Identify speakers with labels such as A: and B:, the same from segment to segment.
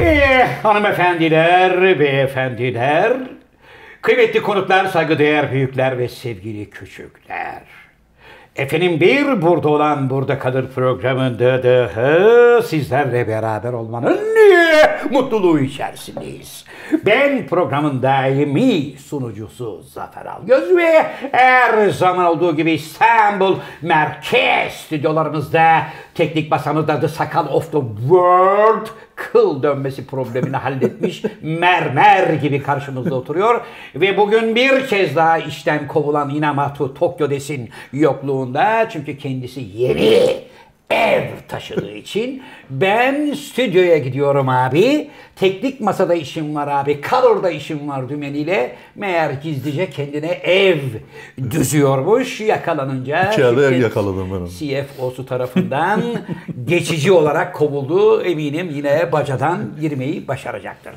A: Eh, hanımefendiler, beyefendiler, kıymetli konuklar, saygıdeğer büyükler ve sevgili küçükler. Efendim bir burada olan burada kalır programında da sizlerle beraber olmanın mutluluğu içerisindeyiz. Ben programın daimi sunucusu Zafer Algöz ve her zaman olduğu gibi İstanbul merkez stüdyolarımızda teknik masamızda The Sakal of the World kıl dönmesi problemini halletmiş mermer gibi karşımızda oturuyor. Ve bugün bir kez daha işten kovulan Inamatu Tokyo desin yokluğunda çünkü kendisi yeni ev taşıdığı için ben stüdyoya gidiyorum abi. Teknik masada işim var abi. Color'da işim var dümeniyle. Meğer gizlice kendine ev düzüyormuş. Yakalanınca
B: Kağıda
A: şirket-
B: yakaladım ben onu.
A: CFO'su tarafından geçici olarak kovuldu. Eminim yine bacadan girmeyi başaracaktır.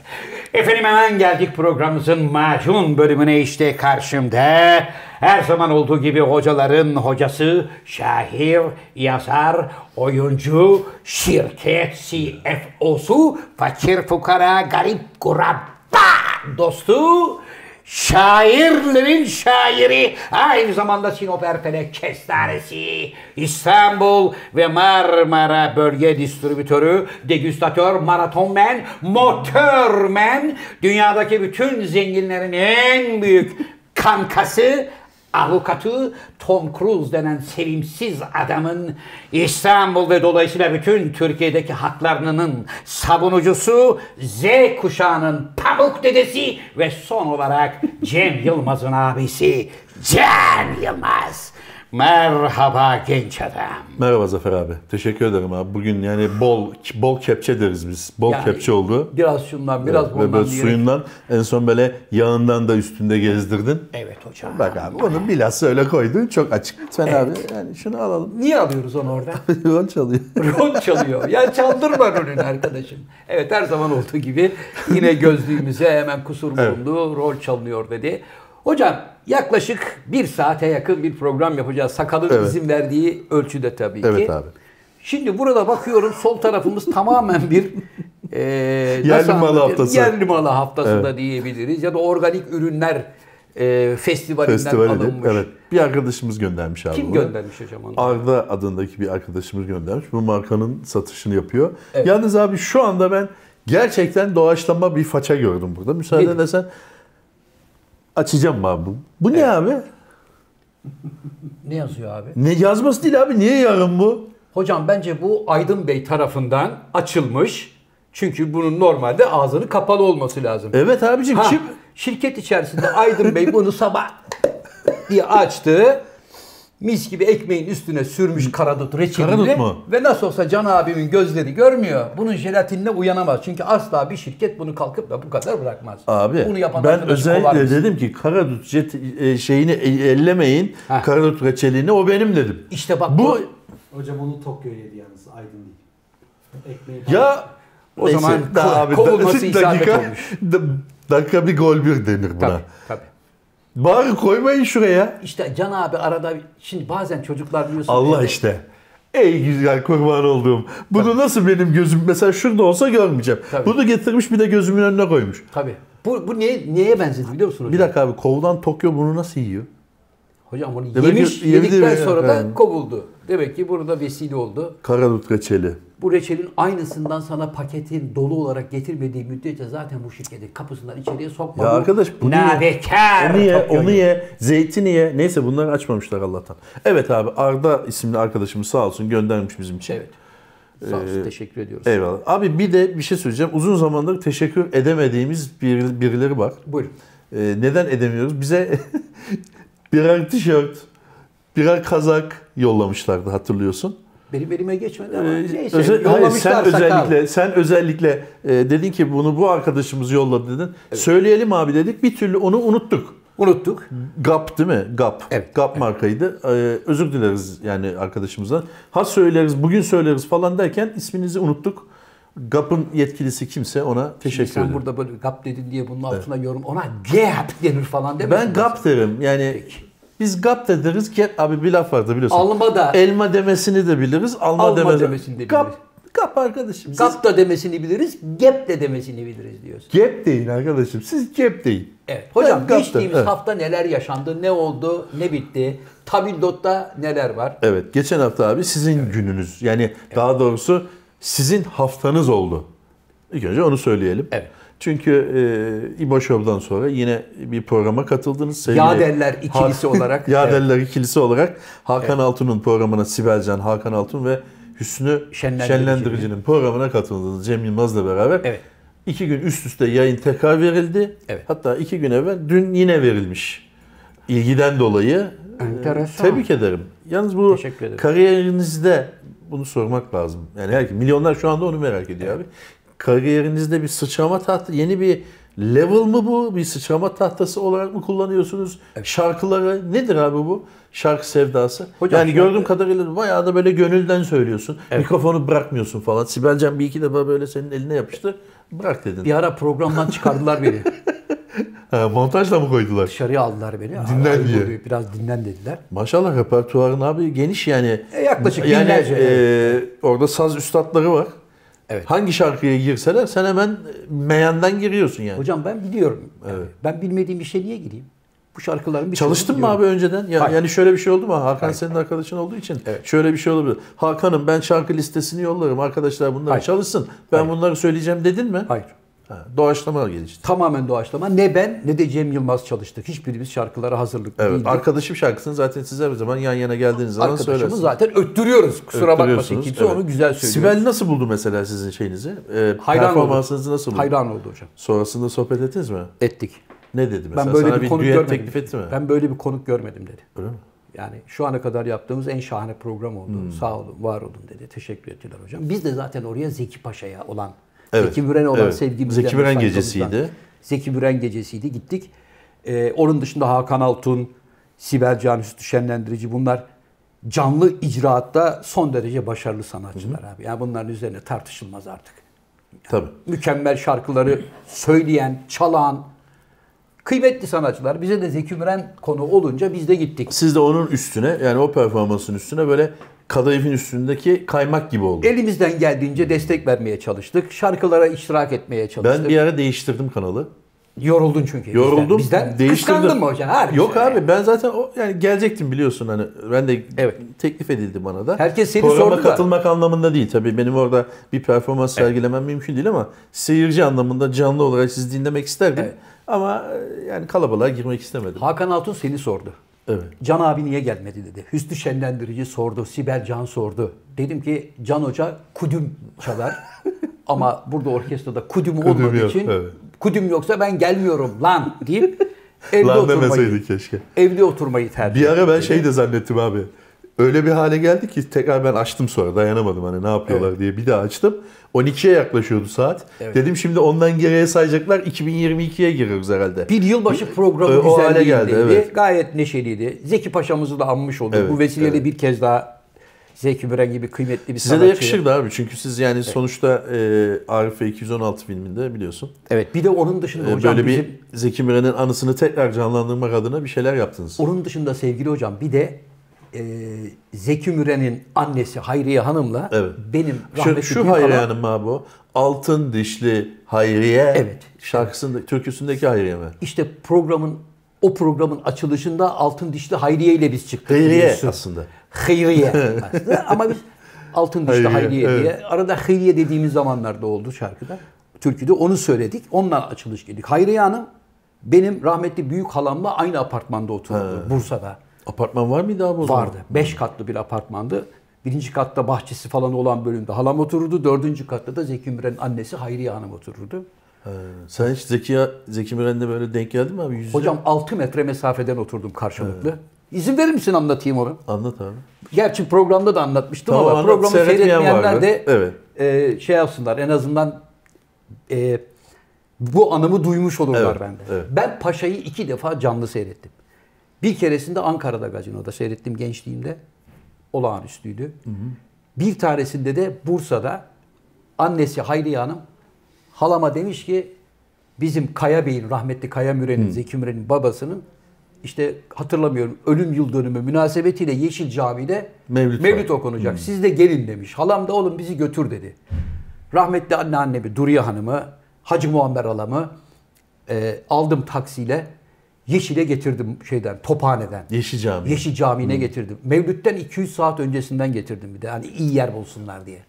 A: Efendim hemen geldik programımızın macun bölümüne işte karşımda. Her zaman olduğu gibi hocaların hocası, şair, yazar, oyuncu, şirket CFO'su, fakir fukara, garip kurabba dostu Şairlerin şairi, aynı zamanda Sinop Erpele Kestanesi, İstanbul ve Marmara Bölge Distribütörü, degüstatör, maratonmen, motörmen, dünyadaki bütün zenginlerin en büyük kankası, avukatı Tom Cruise denen sevimsiz adamın İstanbul ve dolayısıyla bütün Türkiye'deki haklarının savunucusu Z kuşağının pamuk dedesi ve son olarak Cem Yılmaz'ın abisi Cem Yılmaz. Merhaba genç adam.
B: Merhaba Zafer abi. Teşekkür ederim abi. Bugün yani bol bol kepçe deriz biz. Bol
A: Yani-
B: kepçe oldu.
A: Biraz şundan biraz
B: Ve
A: bundan
B: böyle
A: diyerek-
B: suyundan en son böyle yağından da üstünde gezdirdin.
A: Evet hocam.
B: Bak abi onu bilhassa öyle koydun. Çok açık. Lütfen abi yani şunu alalım.
A: Niye alıyoruz onu orada?
B: Rol çalıyor.
A: Rol çalıyor. Ya çaldırma rolünü arkadaşım. Evet her zaman olduğu gibi yine gözlüğümüze hemen kusur bulundu. Rol çalınıyor dedi. Hocam yaklaşık bir saate yakın bir program yapacağız. Sakalın
B: Evet.
A: izin verdiği ölçüde tabii
B: Evet
A: ki.
B: abi.
A: Şimdi burada bakıyorum sol tarafımız tamamen bir e,
B: Yerli
A: nasıl
B: malı
A: anlatayım?
B: haftası.
A: Yerli malı haftası da diyebiliriz. Ya da organik ürünler e, festivalinden
B: Festivali
A: alınmış.
B: Evet. Bir arkadaşımız göndermiş abi
A: Kim
B: bunu.
A: göndermiş hocam onu?
B: Arda adındaki bir arkadaşımız göndermiş. Bu markanın satışını yapıyor. Yalnız abi şu anda ben gerçekten doğaçlama bir faça gördüm burada. Müsaade
A: Nedir?
B: edersen açacağım abi bu. Bu ne abi?
A: Ne yazıyor abi?
B: Ne yazması değil abi. Niye yarın bu?
A: Hocam bence bu Aydın Bey tarafından açılmış. Çünkü bunun normalde ağzını kapalı olması lazım.
B: Evet abicim
A: Ha,
B: E, kim?
A: şirket içerisinde Aydın Bey bunu sabah diye açtı. Mis gibi ekmeğin üstüne sürmüş karadut reçelini.
B: Karadut mu?
A: Ve nasıl olsa Can abimin gözleri görmüyor. Bunun jelatinle uyanamaz. Çünkü asla bir şirket bunu kalkıp da bu kadar bırakmaz.
B: Abi
A: bunu yapan
B: ben
A: arkadaşı kovar
B: özellikle
A: biz.
B: dedim ki karadut jet, e, şeyini e- ellemeyin.
A: Ha.
B: Karadut reçelini o benim dedim.
A: İşte bak
B: Bu
A: bu
C: Hocam onu Tokyo yedi yalnız Aydın değil. Ekmeği
B: ya
A: O zaman ko- kovulması isabet olmuş.
B: Dakika bir gol bir denir buna.
A: tabii, tabii.
B: Bari koymayın şuraya.
A: İşte Can abi arada şimdi bazen çocuklar biliyorsun.
B: Allah
A: evde-
B: işte. Ey güzel kurban olduğum. Bunu nasıl benim gözüm mesela şurada olsa görmeyeceğim.
A: Tabii.
B: Bunu getirmiş bir de gözümün önüne koymuş.
A: Tabii. Bu, bu neye, neye benzedi biliyor musun hocam?
B: Bir dakika abi kovulan Tokyo bunu nasıl yiyor?
A: Hocam onu
B: Demek ki
A: yemiş,
B: yedi
A: yedikten
B: mi?
A: sonra da
B: Evet.
A: kovuldu. Demek ki burada vesile oldu.
B: Karadut reçeli.
A: Bu reçelin aynısından sana paketin dolu olarak getirmediği müddetçe zaten bu şirketin kapısından içeriye sokma.
B: Ya
A: Bu
B: arkadaş bu niye?
A: Nabekar
B: Onu ye,
A: Tokyo'yu.
B: onu ye, zeytini ye. Neyse bunları açmamışlar Allah'tan. Evet abi Arda isimli arkadaşımız sağ olsun göndermiş bizim için.
A: Evet. Sağ olsun,
B: Ee,
A: teşekkür ediyoruz.
B: Eyvallah. Abi bir de bir şey söyleyeceğim. Uzun zamandır teşekkür edemediğimiz bir, birileri var.
A: Buyurun.
B: Ee, neden edemiyoruz? Bize birer tişört, birer kazak yollamışlardı hatırlıyorsun.
A: Benim elime geçmedi ama
B: Ee,
A: neyse.
B: özel- hayır,
A: Şey, yollamışlar
B: sen
A: sakal.
B: özellikle sen özellikle e, dedin ki bunu bu arkadaşımız yolladı dedin. Söyleyelim abi dedik. Bir türlü onu unuttuk.
A: Unuttuk.
B: Gap değil mi? Gap.
A: Evet.
B: Gap markaydı. Ee, özür dileriz yani arkadaşımızdan. Ha söyleriz, bugün söyleriz falan derken isminizi unuttuk. Gap'ın yetkilisi kimse ona teşekkür
A: Sen
B: ederim.
A: burada böyle gap dedin diye bunun altına yorum. Ona gap denir falan demesin.
B: Ben gap derim. Yani biz gap de deriz ki abi bir laf vardı biliyorsun.
A: Alma da.
B: Elma demesini de biliriz, alma,
A: Alma
B: demesini,
A: demesini de
B: Gap
A: biliriz.
B: Gap arkadaşım. Siz
A: Gap da demesini biliriz, gap de demesini biliriz diyoruz.
B: gap deyin arkadaşım. Siz gap deyin.
A: Evet. Hocam
B: Ben gap
A: geçtiğimiz
B: derim, evet.
A: hafta neler yaşandı, ne oldu, ne bitti? Tabildot'ta neler var?
B: Evet. Geçen hafta abi sizin gününüz. Yani daha doğrusu sizin haftanız oldu. İlk önce onu söyleyelim.
A: Evet.
B: Çünkü e, İbo Show'dan sonra yine bir programa katıldınız. Sevgili
A: Yadeller ikilisi olarak.
B: Yadeller ikilisi olarak Hakan Altun'un programına Sibel Can, Hakan Altun ve Hüsnü
A: Şenlendirici.
B: Şenlendirici'nin programına katıldınız Cem Yılmaz'la beraber.
A: Evet.
B: İki gün üst üste yayın tekrar verildi.
A: Evet.
B: Hatta iki gün evvel dün yine verilmiş. İlgiden dolayı e,
A: Enteresan.
B: tebrik ederim. Yalnız bu
A: Teşekkür ederim.
B: kariyerinizde bunu sormak lazım. Yani herkes, milyonlar şu anda onu merak ediyor abi. Kariyerinizde bir sıçrama tahtı, yeni bir level mı bu? Bir sıçrama tahtası olarak mı kullanıyorsunuz? Şarkıları nedir abi bu? Şarkı sevdası.
A: Hocam
B: yani
A: şu-
B: gördüğüm kadarıyla bayağı da böyle gönülden söylüyorsun. Mikrofonu bırakmıyorsun falan. Sibel Can bir iki defa böyle senin eline yapıştı. Bırak dedin.
A: Bir ara programdan çıkardılar beni.
B: Ha, montajla mı koydular?
A: Dışarıya aldılar beni.
B: Dinlen
A: Ay,
B: diye.
A: bu- Biraz dinlen dediler.
B: Maşallah repertuarın abi geniş yani.
A: E, yaklaşık
B: yani,
A: binlerce,
B: e, orada saz üstadları var.
A: Evet.
B: Hangi şarkıya girseler sen hemen e, meyandan giriyorsun yani.
A: Hocam ben biliyorum. Yani Ben bilmediğim bir şey niye gireyim? Bu şarkıların bir
B: Çalıştın mı abi önceden? Ya,
A: Hayır.
B: yani şöyle bir şey oldu mu? Hakan senin arkadaşın olduğu için şöyle bir şey olabilir. Hakan'ım ben şarkı listesini yollarım. Arkadaşlar bunları
A: Hayır.
B: çalışsın. Ben bunları söyleyeceğim dedin mi?
A: Hayır.
B: Ha, doğaçlama gelişti.
A: Tamamen doğaçlama. Ne ben ne de Cem Yılmaz çalıştık. Hiçbirimiz şarkılara hazırlıklı
B: Evet.
A: değildik.
B: Arkadaşım şarkısını zaten siz her zaman yan yana geldiğiniz zaman
A: Arkadaşımı
B: söylersiniz.
A: zaten öttürüyoruz. Kusura bakmasın
B: Öttürüyorsunuz,
A: kimse
B: evet.
A: onu güzel söylüyor.
B: Sibel nasıl buldu mesela sizin şeyinizi? Ee,
A: Hayran oldu.
B: performansınızı nasıl buldu?
A: Hayran oldu hocam.
B: Sonrasında sohbet ettiniz mi?
A: Ettik.
B: Ne dedi mesela?
A: Ben böyle
B: Sana
A: bir konuk
B: düet
A: görmedim.
B: teklif etti mi?
A: Ben böyle bir konuk görmedim dedi.
B: Öyle mi?
A: Yani şu ana kadar yaptığımız en şahane program oldu.
B: Hmm.
A: Sağ olun, var olun dedi. Teşekkür ettiler hocam. Biz de zaten oraya Zeki Paşa'ya olan,
B: Evet,
A: Zeki Müren'e olan
B: evet.
A: sevgimizden.
B: Zeki Müren
A: saygımızdan.
B: gecesiydi.
A: Zeki Müren gecesiydi. Gittik. Ee, onun dışında Hakan Altun, Sibel Can, Hüsnü Şenlendirici bunlar canlı icraatta son derece başarılı sanatçılar abi. Yani bunların üzerine tartışılmaz artık.
B: Tabii.
A: Mükemmel şarkıları söyleyen, çalan, kıymetli sanatçılar. Bize de Zeki Müren konu olunca biz de gittik.
B: Siz de onun üstüne yani o performansın üstüne böyle kadayıfın üstündeki kaymak gibi oldu.
A: Elimizden geldiğince destek vermeye çalıştık. Şarkılara iştirak etmeye çalıştık.
B: Ben bir ara değiştirdim kanalı.
A: Yoruldun çünkü. Bizden,
B: Yoruldum.
A: bizden
B: değiştirdim.
A: kıskandın mı hocam? Harbi
B: Yok
A: söyle.
B: abi ben zaten o yani gelecektim biliyorsun hani ben de
A: Evet.
B: teklif edildi bana da.
A: Herkes seni
B: Programa
A: sordu da.
B: katılmak anlamında değil tabii benim orada bir performans sergilemem mümkün değil ama seyirci anlamında canlı olarak sizi dinlemek isterdim. Ama e, yani kalabalığa girmek istemedim.
A: Hakan Altun seni sordu.
B: Evet.
A: Can abi niye gelmedi dedi. Hüsnü Şenlendirici sordu. Sibel Can sordu. Dedim ki Can Hoca kudüm çalar. Ama burada orkestrada kudüm, olmadığı
B: yok,
A: için
B: evet.
A: kudüm yoksa ben gelmiyorum lan deyip evde
B: Lan
A: oturmayı,
B: demeseydi keşke.
A: evde oturmayı tercih
B: Bir ara ben
A: etti.
B: şey de zannettim abi. Öyle bir hale geldi ki tekrar ben açtım sonra dayanamadım hani ne yapıyorlar diye bir daha açtım. 12'ye yaklaşıyordu saat. Dedim şimdi ondan geriye sayacaklar 2022'ye giriyoruz herhalde.
A: Bir yılbaşı programı
B: Ö- o hale
A: güzelliğindeydi.
B: geldi, evet.
A: Gayet neşeliydi. Zeki Paşa'mızı da anmış olduk.
B: Evet,
A: Bu vesileyle
B: evet.
A: bir kez daha Zeki Müren gibi kıymetli bir
B: Size de
A: sanatçıyı-
B: yakışırdı abi çünkü siz yani sonuçta e, Arife 216 filminde biliyorsun.
A: Evet. Bir de onun dışında
B: E,
A: hocam
B: böyle
A: bizim,
B: bir Zeki Müren'in anısını tekrar canlandırmak adına bir şeyler yaptınız.
A: onun dışında sevgili hocam bir de e, Zeki Müren'in annesi Hayriye Hanım'la
B: Evet.
A: benim
B: Şu,
A: rahmetli
B: şu
A: Gülkalan-
B: Hayriye Hanım abi o. Altın dişli Hayriye
A: Evet.
B: şarkısında, türküsündeki Hayriye mi?
A: işte programın o programın açılışında Altın Dişli Hayriye ile biz çıktık.
B: Hayriye
A: biliyorsun.
B: aslında.
A: Hayriye. aslında. Ama biz altın dişli
B: Hayriye,
A: Hayriye, diye. Arada Hayriye dediğimiz zamanlarda oldu şarkıda. Türküde onu söyledik. Onunla açılış geldik. Hayriye Hanım benim rahmetli büyük halamla aynı apartmanda oturdu Bursa'da.
B: Apartman var mıydı abi o zaman?
A: Vardı. Beş katlı bir apartmandı. Birinci katta bahçesi falan olan bölümde halam otururdu. Dördüncü katta da Zeki Müren'in annesi Hayriye Hanım otururdu.
B: Sen hiç Zeki, Zeki Müren'le böyle denk geldin mi abi? Yüz yüze?
A: Hocam 6 metre mesafeden oturdum karşılıklı. İzin verir misin anlatayım onu?
B: Anlat abi.
A: Gerçi programda da anlatmıştım
B: Tamam,
A: ama
B: anlat.
A: programı
B: Seyretmeyen
A: seyretmeyenler
B: vardı.
A: de
B: Evet.
A: e, şey yapsınlar en azından e, bu anımı duymuş olurlar
B: Evet,
A: bende.
B: evet.
A: Ben Paşa'yı iki defa canlı seyrettim. Bir keresinde Ankara'da gazinoda seyrettim gençliğimde. Olağanüstüydü. Bir tanesinde de Bursa'da annesi Hayriye Hanım halama demiş ki bizim Kaya Bey'in rahmetli Kaya Müren'in Zeki Müren'in babasının işte hatırlamıyorum ölüm yıl dönümü münasebetiyle Yeşil Cami'de
B: Mevlüt var.
A: okunacak. Siz de gelin demiş. Halam da oğlum bizi götür dedi. Rahmetli anneannemi Duriye Hanım'ı, Hacı Muammer halamı e, aldım taksiyle Yeşil'e getirdim şeyden, Tophane'den.
B: Yeşil Cami.
A: Yeşil Camii'ne getirdim. Mevlüt'ten 200 saat öncesinden getirdim bir de. Hani iyi yer bulsunlar diye.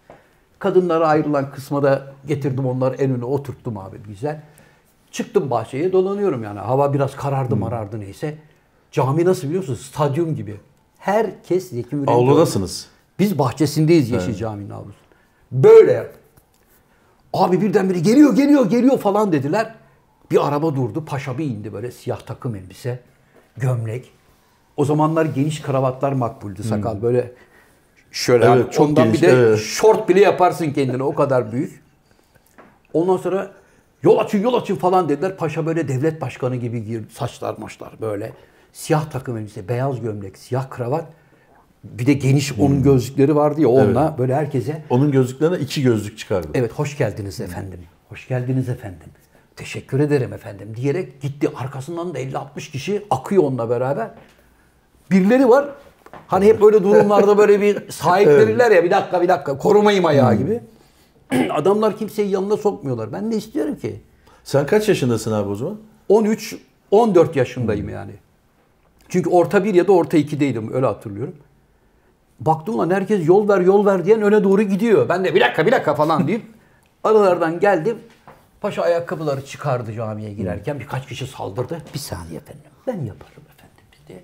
A: Kadınlara ayrılan kısma da getirdim onları en öne oturttum abi güzel. Çıktım bahçeye dolanıyorum yani. Hava biraz karardı marardı neyse. Cami nasıl biliyor musun? Stadyum gibi. Herkes Zeki Müren
B: Avludasınız.
A: biz bahçesindeyiz Yeşil Cami'nin avlusu. Böyle. Abi birdenbire geliyor geliyor geliyor falan dediler. Bir araba durdu. Paşa bir indi böyle siyah takım elbise. Gömlek. O zamanlar geniş kravatlar makbuldü sakal. Böyle şöyle
B: Hmm. Evet,
A: abi,
B: çok
A: ondan
B: geniş,
A: bir de
B: evet.
A: şort bile yaparsın kendine o kadar büyük. Ondan sonra yol açın yol açın falan dediler. Paşa böyle devlet başkanı gibi girdi. Saçlar maçlar böyle. Siyah takım elbise, beyaz gömlek, siyah kravat. Bir de geniş onun gözlükleri vardı ya onunla böyle herkese
B: Onun gözlüklerine iki gözlük çıkardı.
A: evet hoş geldiniz efendim. Hoş geldiniz efendim. Teşekkür ederim efendim diyerek gitti. Arkasından da 50-60 kişi akıyor onunla beraber. Birileri var. Hani hep böyle durumlarda böyle bir sahiplenirler ya bir dakika bir dakika korumayım ayağı gibi. Adamlar kimseyi yanına sokmuyorlar. Ben de istiyorum ki
B: Sen kaç yaşındasın abi o zaman?
A: 13 14 yaşındayım yani. Çünkü orta 1 ya da orta 2'deydim öyle hatırlıyorum. Baktım lan herkes yol ver yol ver diyen öne doğru gidiyor. Ben de bir dakika bir dakika falan deyip aralardan geldim. Paşa ayakkabıları çıkardı camiye girerken birkaç kişi saldırdı. Bir saniye efendim ben yaparım efendim dedi.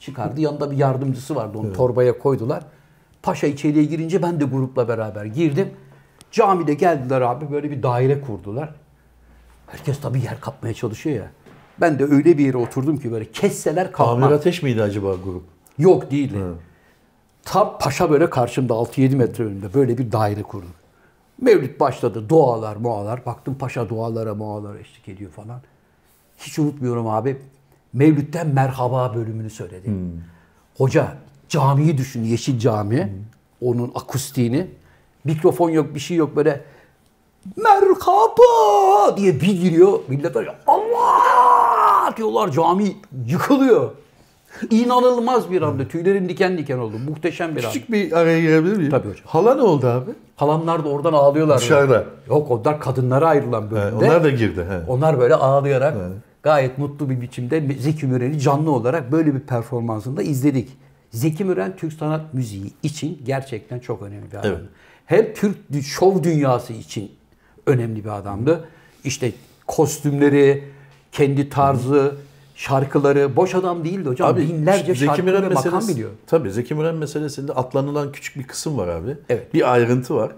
A: Çıkardı yanında bir yardımcısı vardı onu torbaya koydular. Paşa içeriye girince ben de grupla beraber girdim. Camide geldiler abi böyle bir daire kurdular. Herkes tabii yer kapmaya çalışıyor ya. Ben de öyle bir yere oturdum ki böyle kesseler kalkmam.
B: Amir Ateş miydi acaba grup?
A: Yok değildi. Tam paşa böyle karşımda 6-7 metre önünde böyle bir daire kurdu. Mevlüt başladı. Dualar, mualar. Baktım paşa dualara, mualara eşlik ediyor falan. Hiç unutmuyorum abi. Mevlüt'ten merhaba bölümünü söyledi. Hoca camiyi düşün, Yeşil Cami. Onun akustiğini. Mikrofon yok, bir şey yok böyle merhaba diye bir giriyor. Millet böyle Allah diyorlar cami yıkılıyor. İnanılmaz bir anda. Tüylerim diken diken oldu. Muhteşem bir an.
B: Küçük bir araya girebilir miyim?
A: Tabii hocam.
B: Hala ne oldu abi?
A: Halamlar da oradan ağlıyorlar.
B: Dışarıda.
A: Yok onlar kadınlara ayrılan bölümde.
B: He, onlar da girdi. He.
A: Onlar böyle ağlayarak gayet mutlu bir biçimde Zeki Müren'i canlı olarak böyle bir performansında izledik. Zeki Müren Türk sanat müziği için gerçekten çok önemli bir adamdı.
B: Evet.
A: Hem Türk dü- şov dünyası için önemli bir adamdı. İşte kostümleri, kendi tarzı, şarkıları boş adam değildi hocam. Binlerce
B: Zeki
A: şarkı
B: Müren
A: ve makam
B: meselesi-
A: biliyor.
B: Tabii Zeki Müren meselesinde atlanılan küçük bir kısım var abi.
A: Evet.
B: Bir ayrıntı var.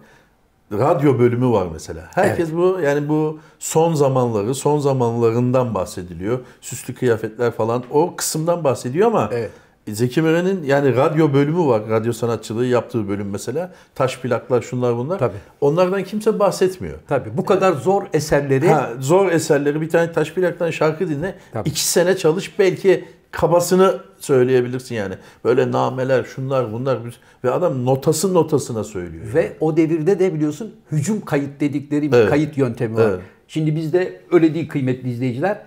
B: Radyo bölümü var mesela. Herkes bu yani bu son zamanları, son zamanlarından bahsediliyor. Süslü kıyafetler falan o kısımdan bahsediyor ama
A: Evet.
B: Zeki Müren'in yani radyo bölümü var. Radyo sanatçılığı yaptığı bölüm mesela. Taş plaklar şunlar bunlar.
A: Tabii.
B: Onlardan kimse bahsetmiyor.
A: Tabii bu kadar zor eserleri
B: Ha, zor eserleri bir tane taş plaktan şarkı dinle.
A: Tabii.
B: iki sene çalış belki kabasını söyleyebilirsin yani. Böyle nameler şunlar bunlar bir- ve adam notası notasına söylüyor.
A: Ve o devirde de biliyorsun hücum kayıt dedikleri bir
B: Evet.
A: kayıt yöntemi var.
B: Evet.
A: Şimdi bizde öyle değil kıymetli izleyiciler.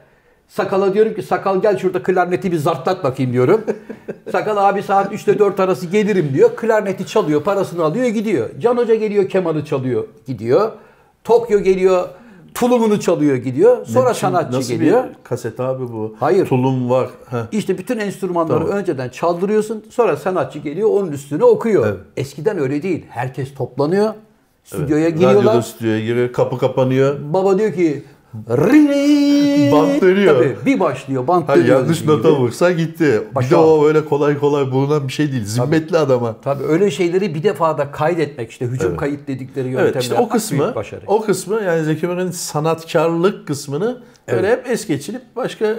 A: Sakala diyorum ki sakal gel şurada klarneti bir zartlat bakayım diyorum. sakal abi saat 3 ile 4 arası gelirim diyor. Klarneti çalıyor parasını alıyor gidiyor. Can Hoca geliyor kemanı çalıyor gidiyor. Tokyo geliyor tulumunu çalıyor gidiyor. Sonra
B: Şimdi
A: sanatçı
B: nasıl
A: geliyor.
B: bir kaset abi bu?
A: Hayır.
B: Tulum var. Heh.
A: İşte bütün enstrümanları
B: Tamam.
A: önceden çaldırıyorsun. Sonra sanatçı geliyor onun üstüne okuyor.
B: Evet.
A: Eskiden öyle değil. Herkes toplanıyor. Stüdyoya
B: Radyoda
A: giriyorlar.
B: stüdyoya giriyor. Kapı kapanıyor.
A: Baba diyor ki "Ri-ri-ri."
B: Bant dönüyor.
A: Tabii, bir başlıyor bant
B: Hayır
A: dönüyor
B: yanlış
A: gibi.
B: nota vursa gitti. Bir de
A: Başa
B: o böyle kolay kolay bulunan bir şey değil. Zimmetli adama.
A: Tabii öyle şeyleri bir defada kaydetmek işte hücum kayıt dedikleri yöntemler.
B: Evet işte o kısmı
A: büyük başarı.
B: o kısmı yani Zeki Müren'in sanatkarlık kısmını böyle hep es geçilip başka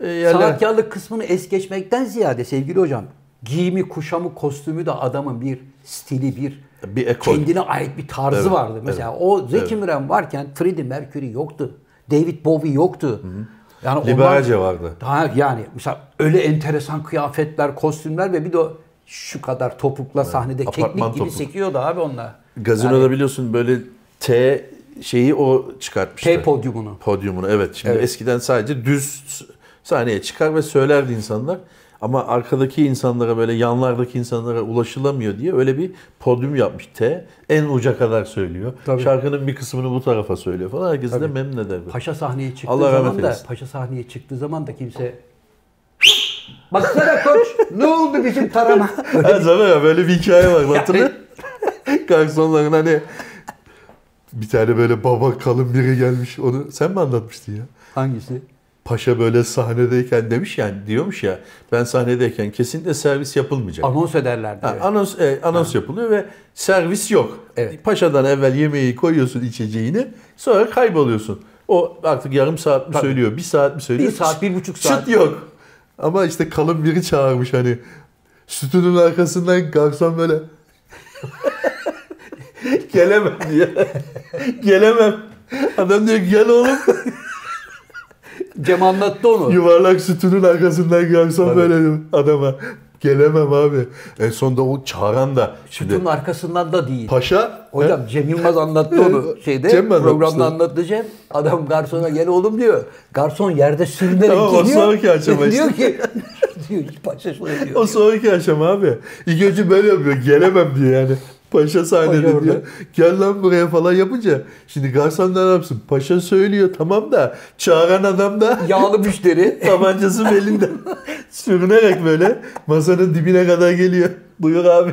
B: e, yerler
A: Sanatkarlık kısmını es geçmekten ziyade sevgili hocam giyimi, kuşamı, kostümü de adamın bir stili, bir
B: bir e, ekol.
A: kendine ait bir tarzı
B: Evet,
A: vardı. Mesela o Zeki Müren varken Freddie Mercury yoktu. David Bowie yoktu. Yani onlar-
B: Liberace vardı.
A: Daha yani mesela öyle enteresan kıyafetler, kostümler ve bir de o şu kadar topukla sahnede
B: apartman
A: keklik gibi
B: topuk.
A: sekiyordu abi onlar.
B: Gazinoda biliyorsun böyle T şeyi o çıkartmıştı.
A: T podyumunu.
B: Podyumunu evet. Şimdi eskiden sadece düz Sahneye çıkar ve söylerdi insanlar. Ama arkadaki insanlara böyle yanlardaki insanlara ulaşılamıyor diye öyle bir podyum yapmış T. En uca kadar söylüyor.
A: Tabii.
B: Şarkının bir kısmını bu tarafa söylüyor falan. Herkesi de memnun eder. bu.
A: Paşa sahneye çıktığı
B: Allah rahmet
A: zaman da
B: eylesin.
A: paşa sahneye çıktığı zaman da kimse Baksana koç ne oldu bizim tarama?
B: Her zaman ya böyle bir hikaye var bak, hatırlıyor musun? Garsonların hani bir tane böyle baba kalın biri gelmiş onu sen mi anlatmıştın ya?
A: Hangisi?
B: Paşa böyle sahnedeyken demiş yani diyormuş ya ben sahnedeyken kesinlikle servis yapılmayacak.
A: Anons ederlerdi.
B: Ha, anons e, anons yapılıyor ve servis yok.
A: Evet.
B: Paşadan evvel yemeği koyuyorsun içeceğini sonra kayboluyorsun. O artık yarım saat mi söylüyor, bir saat mi söylüyor?
A: Bir saat, bir buçuk saat.
B: Çıt yok. Ama işte kalın biri çağırmış hani. Sütünün arkasından garson böyle. Gelemem diyor. Gelemem. Adam diyor ki, gel oğlum.
A: Cem anlattı onu.
B: Yuvarlak sütünün arkasından garson böyle diyor adama. Gelemem abi. En sonunda o çağıran da. Şimdi
A: Sütunun arkasından da değil.
B: paşa.
A: Hocam Cem Yılmaz anlattı onu şeyde
B: Cem mi anlatmıştı?
A: programda anlattı Cem. Adam garsona gel oğlum diyor. Garson yerde sürünerek
B: Tamam, o
A: geliyor.
B: sonraki aşama
A: diyor ki diyor ki paşa şöyle
B: O
A: diyor.
B: sonraki aşama abi. İlk önce böyle yapıyor. Gelemem diyor yani. Paşa sahnede
A: Paşa orada.
B: diyor. Gel lan buraya falan yapınca. Şimdi garson ne yapsın? Paşa söylüyor tamam da çağıran adam da
A: Yağlı müşteri.
B: tabancası belinde sürünerek böyle masanın dibine kadar geliyor. Buyur abi.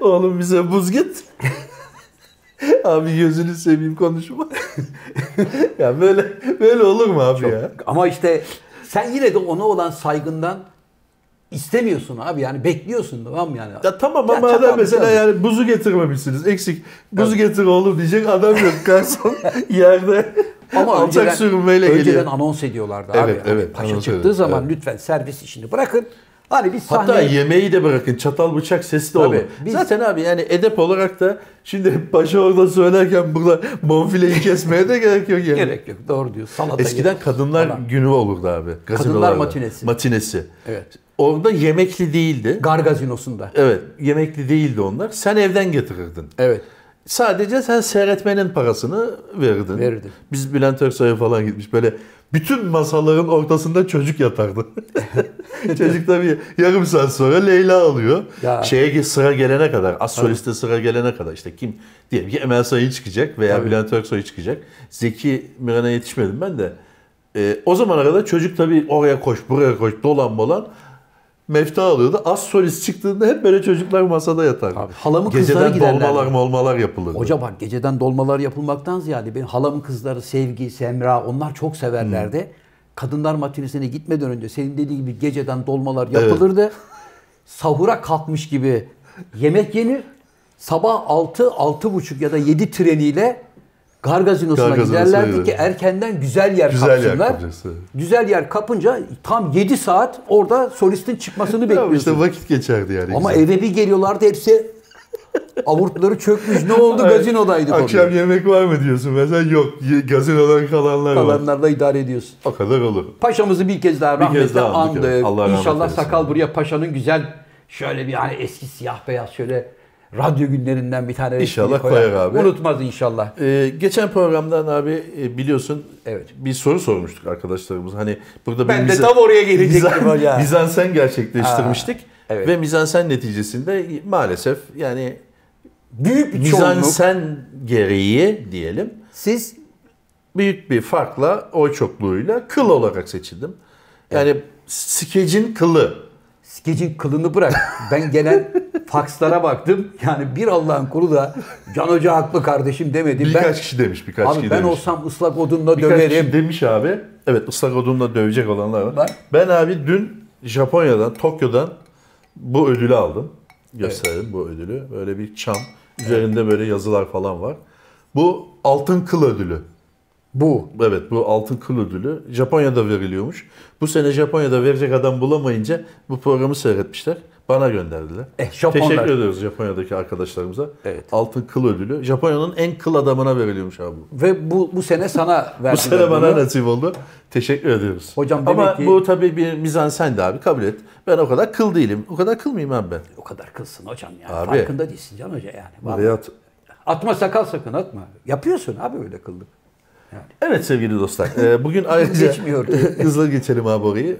B: Oğlum bize buz git. abi gözünü seveyim konuşma. ya böyle böyle olur mu abi ya?
A: Ama işte sen yine de ona olan saygından istemiyorsun abi yani bekliyorsun tamam mı yani.
B: Ya tamam
A: Ya şey.
B: ama adam
A: tamam,
B: mesela
A: tamam.
B: yani buzu getirmemişsiniz. Eksik. Buzu getir oğlum diyecek adam yok. Garson yerde ama alçak sürünmeyle
A: önceden
B: geliyor.
A: anons ediyorlardı abi. Hani
B: Evet, evet,
A: Paşa
B: anons
A: çıktığı
B: ediyordu,
A: zaman
B: evet.
A: lütfen servis işini bırakın. Hani biz
B: Hatta
A: sahneye...
B: yemeği de bırakın. Çatal bıçak sesi de
A: Tabii,
B: olur.
A: biz-
B: Zaten abi yani edep olarak da şimdi paşa orada söylerken burada bonfileyi kesmeye de gerek yok yani.
A: Gerek yok doğru diyor. Salata
B: Eskiden
A: yemek
B: kadınlar
A: falan.
B: günü olurdu abi. gazinolarda.
A: matinesi.
B: Matinesi.
A: Evet.
B: Orada yemekli değildi.
A: Gargazinosunda.
B: evet. Yemekli değildi onlar. Sen evden getirirdin.
A: Evet.
B: Sadece sen seyretmenin parasını verirdin.
A: Verirdim.
B: Biz Bülent Ersoy'a falan gitmiş böyle bütün masaların ortasında çocuk yatardı. çocuk tabii yarım saat sonra Leyla alıyor.
A: Ya.
B: Şeye ge- sıra gelene kadar, az soliste sıra gelene kadar işte kim diyelim ki Emel Sayın çıkacak veya Bülent Ersoy çıkacak. Zeki Müren'e yetişmedim ben de. Ee, o zamana kadar çocuk tabii oraya koş, buraya koş, dolan bolan mefta alıyordu. Az solist çıktığında hep böyle çocuklar masada yatardı.
A: Abi, halamı kızlara
B: Geceden
A: giderlerdi.
B: dolmalar molmalar yapılırdı.
A: Hoca bak geceden dolmalar yapılmaktan ziyade benim halamın kızları Sevgi, Semra onlar çok severlerdi. Kadınlar matinesine gitmeden önce senin dediğin gibi geceden dolmalar yapılırdı. Sahura kalkmış gibi yemek yenir. Sabah 6, 6.30 ya da 7 treniyle Gargazinos'una
B: Gargazinos'a
A: giderlerdi
B: gidiyor.
A: ki erkenden güzel yer
B: Güzel yer
A: kapsınlar.
B: kapacağız, evet.
A: güzel yer kapınca tam 7 saat orada solistin çıkmasını
B: Tamam
A: bekliyorsun.
B: işte vakit geçerdi yani.
A: Ama
B: güzel.
A: eve bir geliyorlardı hepsi avurtları çökmüş. Ne oldu? Gazinodaydık.
B: Akşam
A: Akşam
B: yemek var mı diyorsun mesela yok. ye- Gazinodan kalanlar var.
A: kalanlarla idare ediyorsun.
B: O kadar olur.
A: Paşamızı bir kez daha rahmetle
B: kez daha andık,
A: andık.
B: evet. Allah rahmet
A: İnşallah
B: eylesin.
A: sakal buraya paşanın güzel şöyle bir hani eski siyah beyaz şöyle radyo günlerinden bir tane resmini
B: İnşallah koyar abi.
A: Unutmaz inşallah.
B: Ee, geçen programdan abi e, biliyorsun
A: Evet.
B: bir soru sormuştuk arkadaşlarımız. Hani burada
A: Ben
B: bir
A: de
B: mizan-
A: tam oraya gelecektim
B: mizan-
A: hocam.
B: Mizansen gerçekleştirmiştik.
A: evet.
B: Ve mizansen neticesinde maalesef yani
A: Büyük bir çoğunluk.
B: mizansen gereği diyelim
A: Siz
B: büyük bir farkla oy çokluğuyla kıl olarak seçildim. Yani skecin kılı.
A: skecin kılını bırak. Ben gelen fakslara baktım. Yani bir Allah'ın kulu da Can Hoca haklı kardeşim demedi.
B: Birkaç
A: ben,
B: kişi demiş birkaç
A: abi
B: kişi
A: ben
B: demiş.
A: olsam ıslak odunla
B: Birkaç
A: döverim.
B: kişi demiş abi. Evet ıslak odunla dövecek olanlar var.
A: Var.
B: Ben abi dün Japonya'dan, Tokyo'dan bu ödülü aldım. Gösterelim bu ödülü. Böyle bir çam. Üzerinde böyle yazılar falan var. Bu altın kıl ödülü.
A: Bu.
B: Evet bu altın kıl ödülü Japonya'da veriliyormuş. Bu sene Japonya'da verecek adam bulamayınca bu programı seyretmişler. Bana gönderdiler.
A: Eh, Japonlar.
B: Teşekkür ediyoruz Japonya'daki arkadaşlarımıza.
A: Evet.
B: Altın kıl ödülü. Japonya'nın en kıl adamına veriliyormuş abi bu.
A: Ve bu bu sene sana verdiler.
B: Bu sene bana
A: bunu.
B: nasip oldu. Teşekkür ediyoruz.
A: Hocam
B: Ama
A: demek ki-
B: bu tabii bir mizansen de abi kabul et. Ben o kadar kıl değilim. O kadar kıl mıyım abi ben?
A: O kadar kılsın hocam ya.
B: Abi.
A: Farkında değilsin Can Hoca yani. Vallahi.
B: Hayat.
A: Atma sakal sakın atma. Yapıyorsun abi öyle kıldık.
B: Evet sevgili dostlar. e, Bugün ayrıca
A: Geçmiyor.
B: hızla geçelim abi orayı.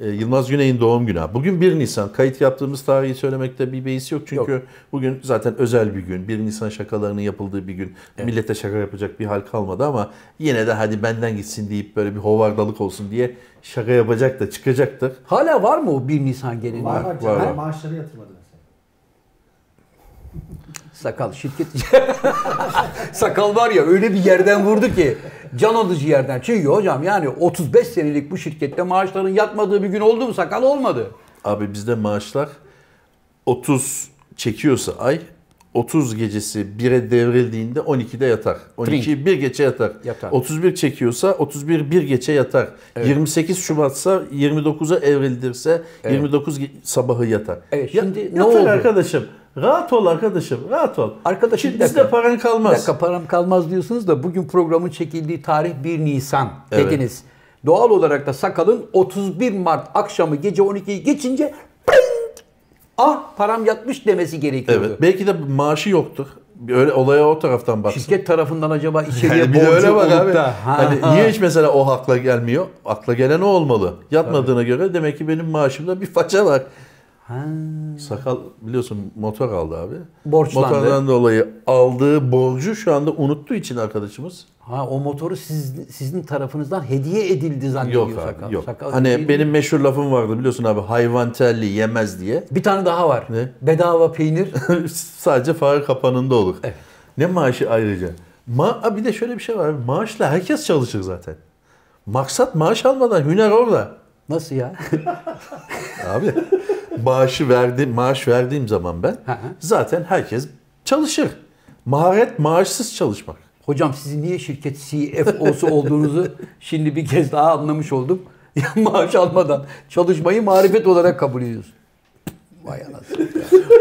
B: E, Yılmaz Güney'in doğum günü. abi. Bugün 1 Nisan. Kayıt yaptığımız tarihi söylemekte bir beis yok. Çünkü bugün zaten özel bir gün. 1 Nisan şakalarının yapıldığı bir gün. Millete şaka yapacak bir hal kalmadı ama yine de hadi benden gitsin deyip böyle bir hovardalık olsun diye şaka yapacak da çıkacaktır.
A: Hala var mı o 1 Nisan geleneği?
C: Var
B: var,
C: var canım.
B: var.
C: Maaşları yatırmadı mesela.
A: Sakal şirket. Sakal var ya öyle bir yerden vurdu ki can alıcı yerden. Çünkü hocam yani 35 senelik bu şirkette maaşların yatmadığı bir gün oldu mu sakal olmadı.
B: Abi bizde maaşlar 30 çekiyorsa ay 30 gecesi 1'e devrildiğinde 12'de yatar. 12 bir gece yatar.
A: Yatar.
B: 31 çekiyorsa 31 bir gece yatar. 28 Şubat'sa 29'a evrildirse 29 ge- sabahı yatar.
A: Evet,
B: Ya-
A: şimdi ne
B: yatar
A: oldu?
B: arkadaşım. Rahat ol arkadaşım. Rahat ol.
A: Arkadaşım,
B: şimdi
A: bir dakika.
B: bizde paran
A: Bir
B: kalmaz.
A: dakika param kalmaz diyorsunuz da bugün programın çekildiği tarih 1 Nisan
B: Evet.
A: dediniz. Doğal olarak da sakalın 31 Mart akşamı gece 12'yi geçince pling! ah param yatmış demesi gerekiyordu.
B: Evet. Belki de maaşı yoktur. Bir Öyle olaya o taraftan baksın.
A: Şirket tarafından acaba içeriye
B: Yani Hani bir de
A: borcu
B: öyle bak
A: olup
B: abi.
A: da ha,
B: Hani
A: ha.
B: niye hiç mesela o akla gelmiyor? Akla gelen o olmalı. Yatmadığına göre demek ki benim maaşımda bir faça var. Sakal biliyorsun motor aldı abi.
A: Borçlandı.
B: Motordan dolayı aldığı borcu şu anda unuttuğu için arkadaşımız.
A: Ha o motoru siz, sizin tarafınızdan hediye edildi zannediyor
B: Yok abi
A: sakal.
B: yok.
A: Sakal
B: hani
A: değil.
B: benim meşhur lafım vardı biliyorsun abi hayvan telli yemez diye.
A: bir tane daha var.
B: Ne?
A: Bedava peynir.
B: Sadece fare kapanında olur.
A: Evet.
B: Ne maaşı ayrıca? Ma Aa, bir de şöyle bir şey var. Maaşla herkes çalışır zaten. Maksat maaş almadan hüner orada.
A: Nasıl ya?
B: Abi maaşı verdi, maaş verdiğim zaman ben
A: hı.
B: zaten herkes çalışır. Maharet maaşsız çalışmak.
A: Hocam sizin niye şirket CFO'su olduğunuzu şimdi bir kez daha anlamış oldum. Ya maaş almadan çalışmayı marifet olarak kabul ediyorsun. Vay anasını.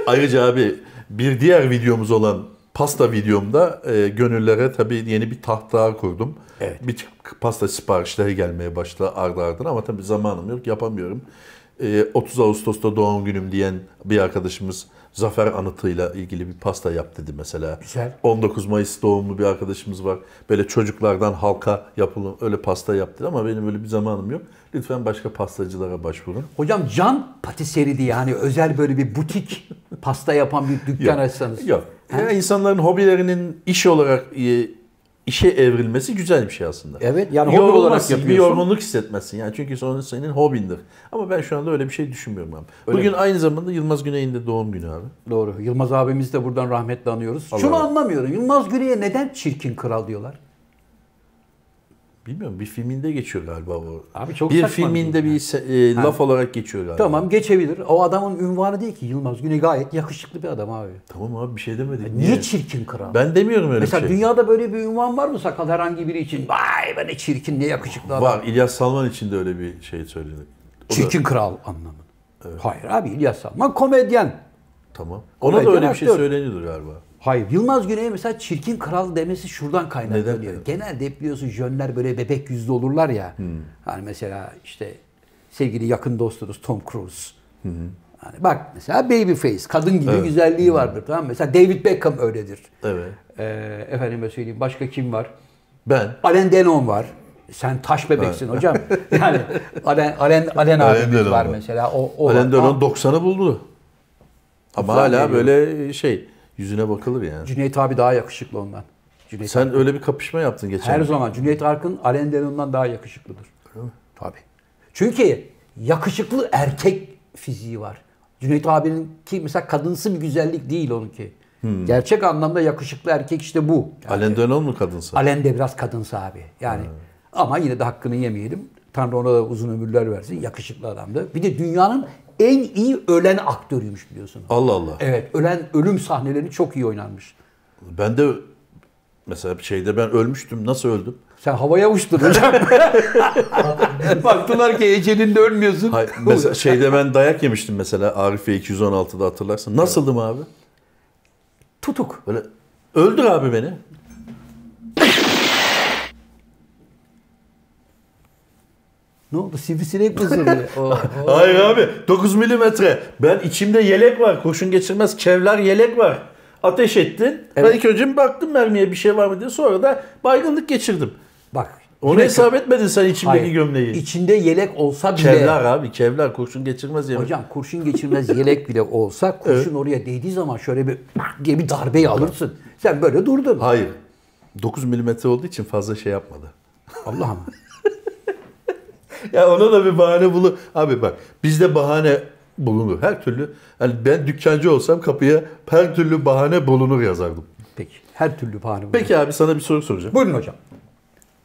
B: Ayrıca abi bir diğer videomuz olan pasta videomda e, gönüllere tabii yeni bir tahta kurdum.
A: Evet.
B: Bir pasta siparişleri gelmeye başladı ardı ardına ama tabii zamanım yok yapamıyorum. E, 30 Ağustos'ta doğum günüm diyen bir arkadaşımız Zafer Anıtı'yla ilgili bir pasta yap dedi mesela.
A: Güzel.
B: 19 Mayıs doğumlu bir arkadaşımız var. Böyle çocuklardan halka yapılan öyle pasta yaptı ama benim öyle bir zamanım yok. Lütfen başka pastacılara başvurun.
A: Hocam Can Patisserie diye hani özel böyle bir butik pasta yapan bir dükkan açsanız.
B: Yok. Ya insanların hobilerinin iş olarak e, işe evrilmesi güzel bir şey aslında.
A: Evet, yani
B: Yorulmazsın,
A: hobi olarak
B: Bir
A: yapıyorsun.
B: yorgunluk hissetmezsin. Yani çünkü sonra senin hobindir. Ama ben şu anda öyle bir şey düşünmüyorum abi. Bugün aynı zamanda Yılmaz Güney'in de doğum günü abi.
A: Doğru. Yılmaz abimizi de buradan rahmetle anıyoruz.
B: Allah
A: Şunu
B: Allah.
A: anlamıyorum. Yılmaz Güney'e neden çirkin kral diyorlar?
B: Bilmiyorum bir filminde geçiyor galiba o.
A: Abi çok
B: bir
A: saçma
B: filminde bir se- e, laf olarak geçiyor galiba.
A: Tamam geçebilir. O adamın ünvanı değil ki Yılmaz Güney gayet yakışıklı bir adam abi.
B: Tamam abi bir şey demedik.
A: Niye,
B: Niye?
A: çirkin kral?
B: Ben demiyorum öyle
A: Mesela
B: bir şey.
A: dünyada böyle bir ünvan var mı sakal herhangi biri için? Vay be ne çirkin ne yakışıklı adam.
B: Var İlyas Salman için de öyle bir şey söyledi. O da-
A: Çirkin kral anlamında. Hayır abi İlyas Salman komedyen.
B: Tamam. Ona da
A: Komedyen
B: öyle bir şey
A: aktör.
B: söyleniyordur galiba.
A: Hayır Yılmaz Güney'e mesela çirkin kral demesi şuradan kaynaklanıyor.
B: Neden? Hmm.
A: Genelde hep biliyorsun jönler böyle bebek yüzlü olurlar ya. Hani mesela işte sevgili yakın dostunuz Tom Cruise. Hani bak mesela Babyface kadın gibi güzelliği vardır tamam mı? Mesela David Beckham öyledir.
B: Evet.
A: Ee, efendime söyleyeyim başka kim var?
B: Ben
A: Alen Delon var. Sen taş bebeksin hocam. Yani Alen, Alen, Alen abimiz
B: Delon
A: var
B: var.
A: mesela. O, o var.
B: Alain Delon
A: Aa,
B: 90'ı buldu. Ama
A: Güzel
B: hala
A: geliyor.
B: böyle şey yüzüne bakılır yani.
A: Cüneyt abi daha yakışıklı ondan. Cüneyt
B: Sen öyle bir kapışma yaptın geçen.
A: Her
B: gün.
A: zaman Cüneyt Arkın Alain Delon'dan daha yakışıklıdır. Tabii. Çünkü yakışıklı erkek fiziği var. Cüneyt abinin ki mesela kadınsı bir güzellik değil onunki. Gerçek anlamda yakışıklı erkek işte bu.
B: Alain Delon mu kadınsa?
A: Alen de biraz kadınsı abi. Yani ama yine de hakkını yemeyelim. Tanrı ona da uzun ömürler versin. Yakışıklı adamdı. Bir de dünyanın en iyi ölen aktörüymüş biliyorsun.
B: Allah Allah.
A: Evet, ölen ölüm sahnelerini çok iyi oynanmış.
B: Ben de mesela bir şeyde ben ölmüştüm. Nasıl öldüm?
A: Sen havaya uçtun hocam. Baktılar ki Ece'nin de ölmüyorsun.
B: Hayır, mesela şeyde ben dayak yemiştim mesela Arifiye 216'da hatırlarsın. Nasıldım abi?
A: Tutuk.
B: Böyle öldür abi beni.
A: Ne oldu? Sivrisinek mi ısırdı? O- o-
B: Hayır abi 9 milimetre. Ben içimde yelek var. Kurşun geçirmez kevlar yelek var. Ateş ettin. Ben
A: Evet.
B: ilk önce bir baktım mermiye bir şey var mı diye. Sonra da baygınlık geçirdim.
A: Bak.
B: Onu
A: yine-
B: hesap etmedin sen içimdeki
A: Hayır.
B: gömleği.
A: İçinde yelek olsa bile.
B: Kevlar abi kevlar kurşun geçirmez yemek.
A: E Hocam kurşun geçirmez yelek bile olsa kurşun oraya değdiği zaman şöyle bir diye bir darbeyi alırsın. Sen böyle durdun.
B: Hayır. 9 milimetre olduğu için fazla şey yapmadı.
A: Allah'ım.
B: Ya ona da bir bahane bulun. Abi bak bizde bahane bulunur. Her türlü hani ben dükkancı olsam kapıya her türlü bahane bulunur yazardım.
A: Peki. Her türlü bahane var.
B: Peki abi sana bir soru soracağım.
A: Buyurun hocam.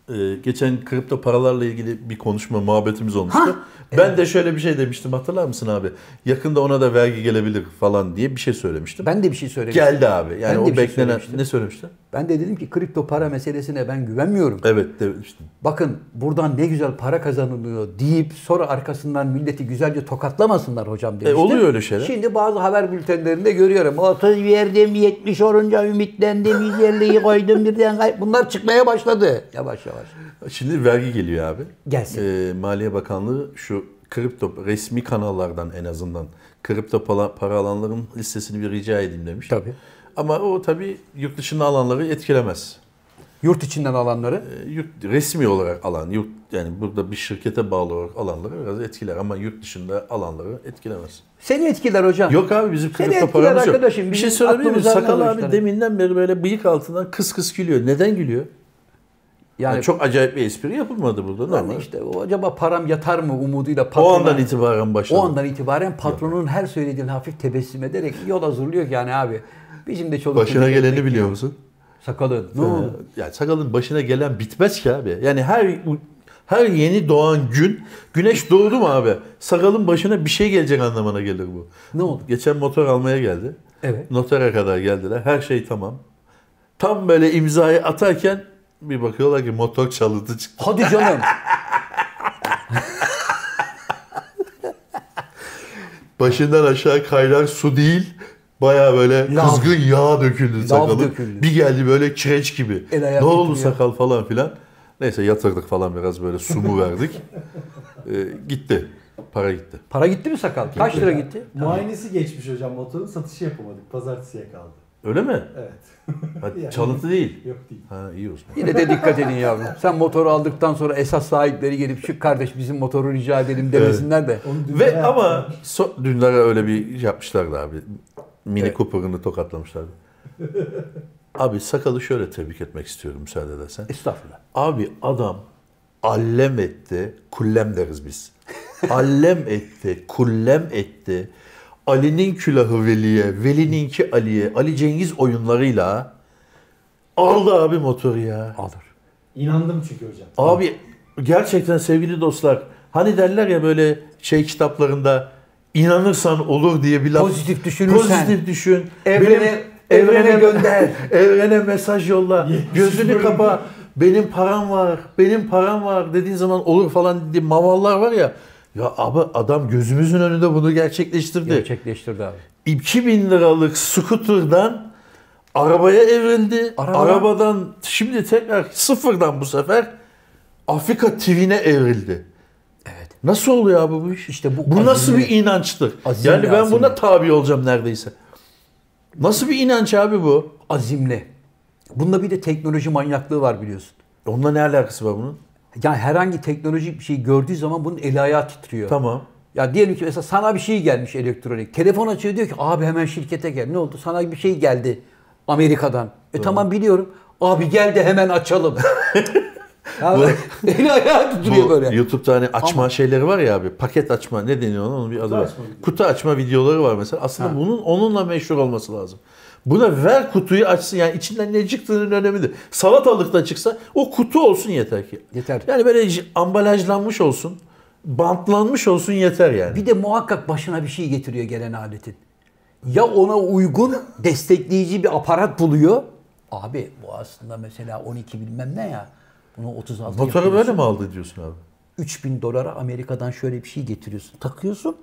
B: Ee, geçen kripto paralarla ilgili bir konuşma muhabbetimiz olmuştu. ben de şöyle bir şey demiştim hatırlar mısın abi? Yakında ona da vergi gelebilir falan diye bir şey söylemiştim.
A: Ben de bir şey söyleyeyim.
B: Geldi abi. Yani
A: Ben de
B: o
A: bir şey
B: beklenen
A: söylemiştim.
B: ne söylemiştin?
A: Ben de dedim ki kripto para meselesine ben güvenmiyorum.
B: Evet demiştim.
A: Bakın buradan ne güzel para kazanılıyor deyip sonra arkasından milleti güzelce tokatlamasınlar hocam demiştim.
B: E, oluyor öyle şeyler.
A: Şimdi bazı haber bültenlerinde görüyorum. 30 verdim, 70 olunca ümitlendim, 150'yi koydum birden. kay- Bunlar çıkmaya başladı. Yavaş yavaş.
B: Şimdi vergi geliyor abi.
A: Gelsin.
B: Ee, Maliye Bakanlığı şu kripto resmi kanallardan en azından kripto para, para alanların listesini bir rica edeyim demiş.
A: Tabii.
B: Ama o tabii yurt dışında alanları etkilemez.
A: Yurt içinden alanları.
B: Ee, yurt, resmi olarak alan, yurt, yani burada bir şirkete bağlı olarak alanları biraz etkiler ama yurt dışında alanları etkilemez.
A: Seni etkiler hocam.
B: Yok abi bizim kripto
A: etkiler
B: paramız yok.
A: arkadaşım,
B: Bir şey
A: bizim
B: söyleyebilir miyim?
A: aklımızdan
B: Sakal
A: alıyor
B: abi
A: işler.
B: deminden beri böyle bıyık altından kıs kıs gülüyor. Neden gülüyor? Yani,
A: Yani çok
B: çok acayip bir espri yapılmadı burada. normal.
A: işte o acaba param yatar mı umuduyla patrona.
B: o andan itibaren başladı.
A: O andan itibaren patronun her söylediğini hafif tebessüm ederek yola hazırlıyor ki yani abi. Bizim de çoluk
B: Başına
A: çocuk
B: geleni biliyor musun?
A: sakalı ne oldu?
B: Ya sakalın başına gelen bitmez ki abi. Yani her her yeni doğan gün güneş doğdu mu abi? Sakalın başına bir şey gelecek anlamına gelir bu.
A: Ne oldu?
B: Geçen motor almaya geldi.
A: Evet.
B: Notara kadar geldiler. Her şey tamam. Tam böyle imzayı atarken bir bakıyorlar ki motor çalıntı çıktı.
A: Hadi canım.
B: Başından aşağı kaynar su değil. Baya böyle
A: Lav.
B: kızgın yağ döküldü sakalı.
A: döküldü.
B: Bir geldi böyle kireç gibi.
A: El ayağı
B: ne oldu
A: titriyor.
B: sakal falan filan. Neyse yatırdık falan biraz böyle su mu verdik. Ee, gitti. Para gitti.
A: Para gitti mi sakal? Kaç lira gitti?
C: Muayenesi geçmiş hocam motorun satışı yapamadık. Pazartesiye kaldı.
B: Öyle mi?
C: Evet.
B: Ha,
C: Yani.
B: çalıntı değil.
C: Yok değil.
B: Ha iyi o zaman.
A: Yine de dikkat edin yavrum. Sen motoru aldıktan sonra esas sahipleri gelip şu kardeş bizim motoru rica edelim demesinler de.
C: Onu dün
B: Ve
C: yaptım.
B: ama so- Dündar'a öyle bir şey yapmışlardı abi. Mini
A: Evet.
B: Cooper'ını tokatlamışlardı. abi sakalı şöyle tebrik etmek istiyorum müsaade edersen.
A: Estağfurullah.
B: Abi adam allem etti, kullem deriz biz. allem etti, kullem etti. Ali'nin külahı Veli'ye, Veli'ninki Ali'ye, Ali Cengiz oyunlarıyla aldı abi motoru ya.
A: Alır.
C: İnandım çünkü hocam.
B: Abi gerçekten sevgili dostlar, hani derler ya böyle şey kitaplarında inanırsan olur diye bir laf.
A: Pozitif düşünürsen.
B: Pozitif düşün.
A: Evrene- evrene gönder.
B: evrene mesaj yolla.
C: Yetmiş
B: Gözünü
C: bölüm.
B: kapa. Benim param var. Benim param var dediğin zaman olur falan diye mavallar var ya. Ya abi adam gözümüzün önünde bunu gerçekleştirdi.
A: Gerçekleştirdi abi.
B: 2000 liralık scooter'dan arabaya evrildi.
A: Araba-
B: Arabadan şimdi tekrar sıfırdan bu sefer Afrika TV'ne evrildi.
A: Evet.
B: Nasıl oluyor abi bu iş?
A: İşte bu
B: bu nasıl
A: azimli-
B: bir inançtır?
A: azimli,
B: yani ben
A: azimli.
B: buna tabi olacağım neredeyse. Nasıl bir inanç abi bu?
A: Azimli. Bunda bir de teknoloji manyaklığı var biliyorsun.
B: Onunla ne alakası var bunun?
A: Yani herhangi teknolojik bir şey gördüğü zaman bunun eli ayağı titriyor.
B: Tamam.
A: Ya diyelim ki mesela sana bir şey gelmiş elektronik. Telefon açıyor diyor ki abi hemen şirkete gel. Ne oldu? Sana bir şey geldi Amerika'dan. E tamam biliyorum. Abi gel de hemen açalım. ya, eli ayağı titriyor
B: Bu
A: böyle.
B: YouTube'da hani açma şeyleri var ya abi. Paket açma ne deniyor ona onun bir adı var.
C: açma videoları.
B: Kutu açma videoları var mesela. Aslında bunun onunla meşhur olması lazım. Buna ver kutuyu açsın yani içinden ne çıktığının önemi değil. Salatalık da çıksa o kutu olsun yeter ki.
A: Yeter.
B: Yani böyle j- ambalajlanmış olsun, bantlanmış olsun yeter yani.
A: Bir de muhakkak başına bir şey getiriyor gelen aletin. Ya ona uygun destekleyici bir aparat buluyor. Abi bu aslında mesela 12 bilmem ne ya. Bunu 36
B: Motoru
A: yapıyorsun.
B: böyle mi aldı diyorsun abi?
A: 3000 dolara Amerika'dan şöyle bir şey getiriyorsun. Takıyorsun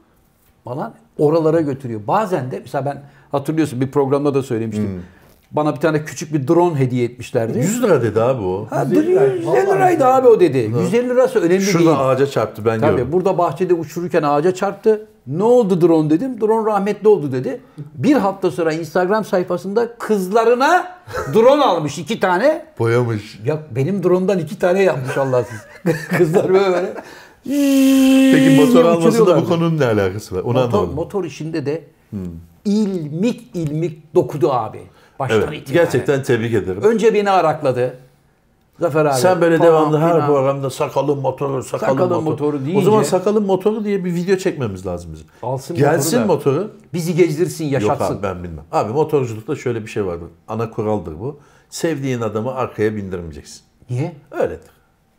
A: falan oralara götürüyor. Bazen de mesela ben hatırlıyorsun bir programda da söylemiştim. Bana bir tane küçük bir drone hediye etmişlerdi.
B: 100 lira dedi abi o.
A: Ha,
C: 150
A: 150
C: liraydı. Vallahi
A: liraydı abi o dedi. 150 lirası önemli değil.
B: Şurada ağaca çarptı ben
A: Tabii
B: gördüm.
A: burada bahçede uçururken ağaca çarptı. Ne oldu drone dedim. Drone rahmetli oldu dedi. Bir hafta sonra Instagram sayfasında kızlarına drone almış iki tane.
B: Boyamış.
A: Ya benim drone'dan iki tane yapmış Allahsız. Kızlar böyle.
B: Peki motor alması da
A: uçuruyorlardı.
B: bu konunun ne Hmm. alakası var? Onu
A: Motor,
B: anlamadım.
A: motor işinde de ilmik ilmik dokudu abi. Baştan
B: Evet,
A: itibaren.
B: gerçekten tebrik ederim.
A: Önce beni arakladı. Zafer abi.
B: Sen böyle
A: falan
B: devamlı her
A: filan.
B: programda sakalın motoru, sakalın,
A: Sakalın
B: motoru.
A: motoru
B: O zaman
A: deyince-
B: sakalın motoru diye bir video çekmemiz lazım bizim.
A: Alsın
B: Gelsin
A: motoru da.
B: motoru.
A: Bizi gezdirsin,
B: Yok
A: yaşatsın.
B: abi ben bilmem. Abi motorculukta şöyle bir şey vardır. Ana kuraldır bu. Sevdiğin adamı arkaya bindirmeyeceksin.
A: Niye?
B: Öyledir.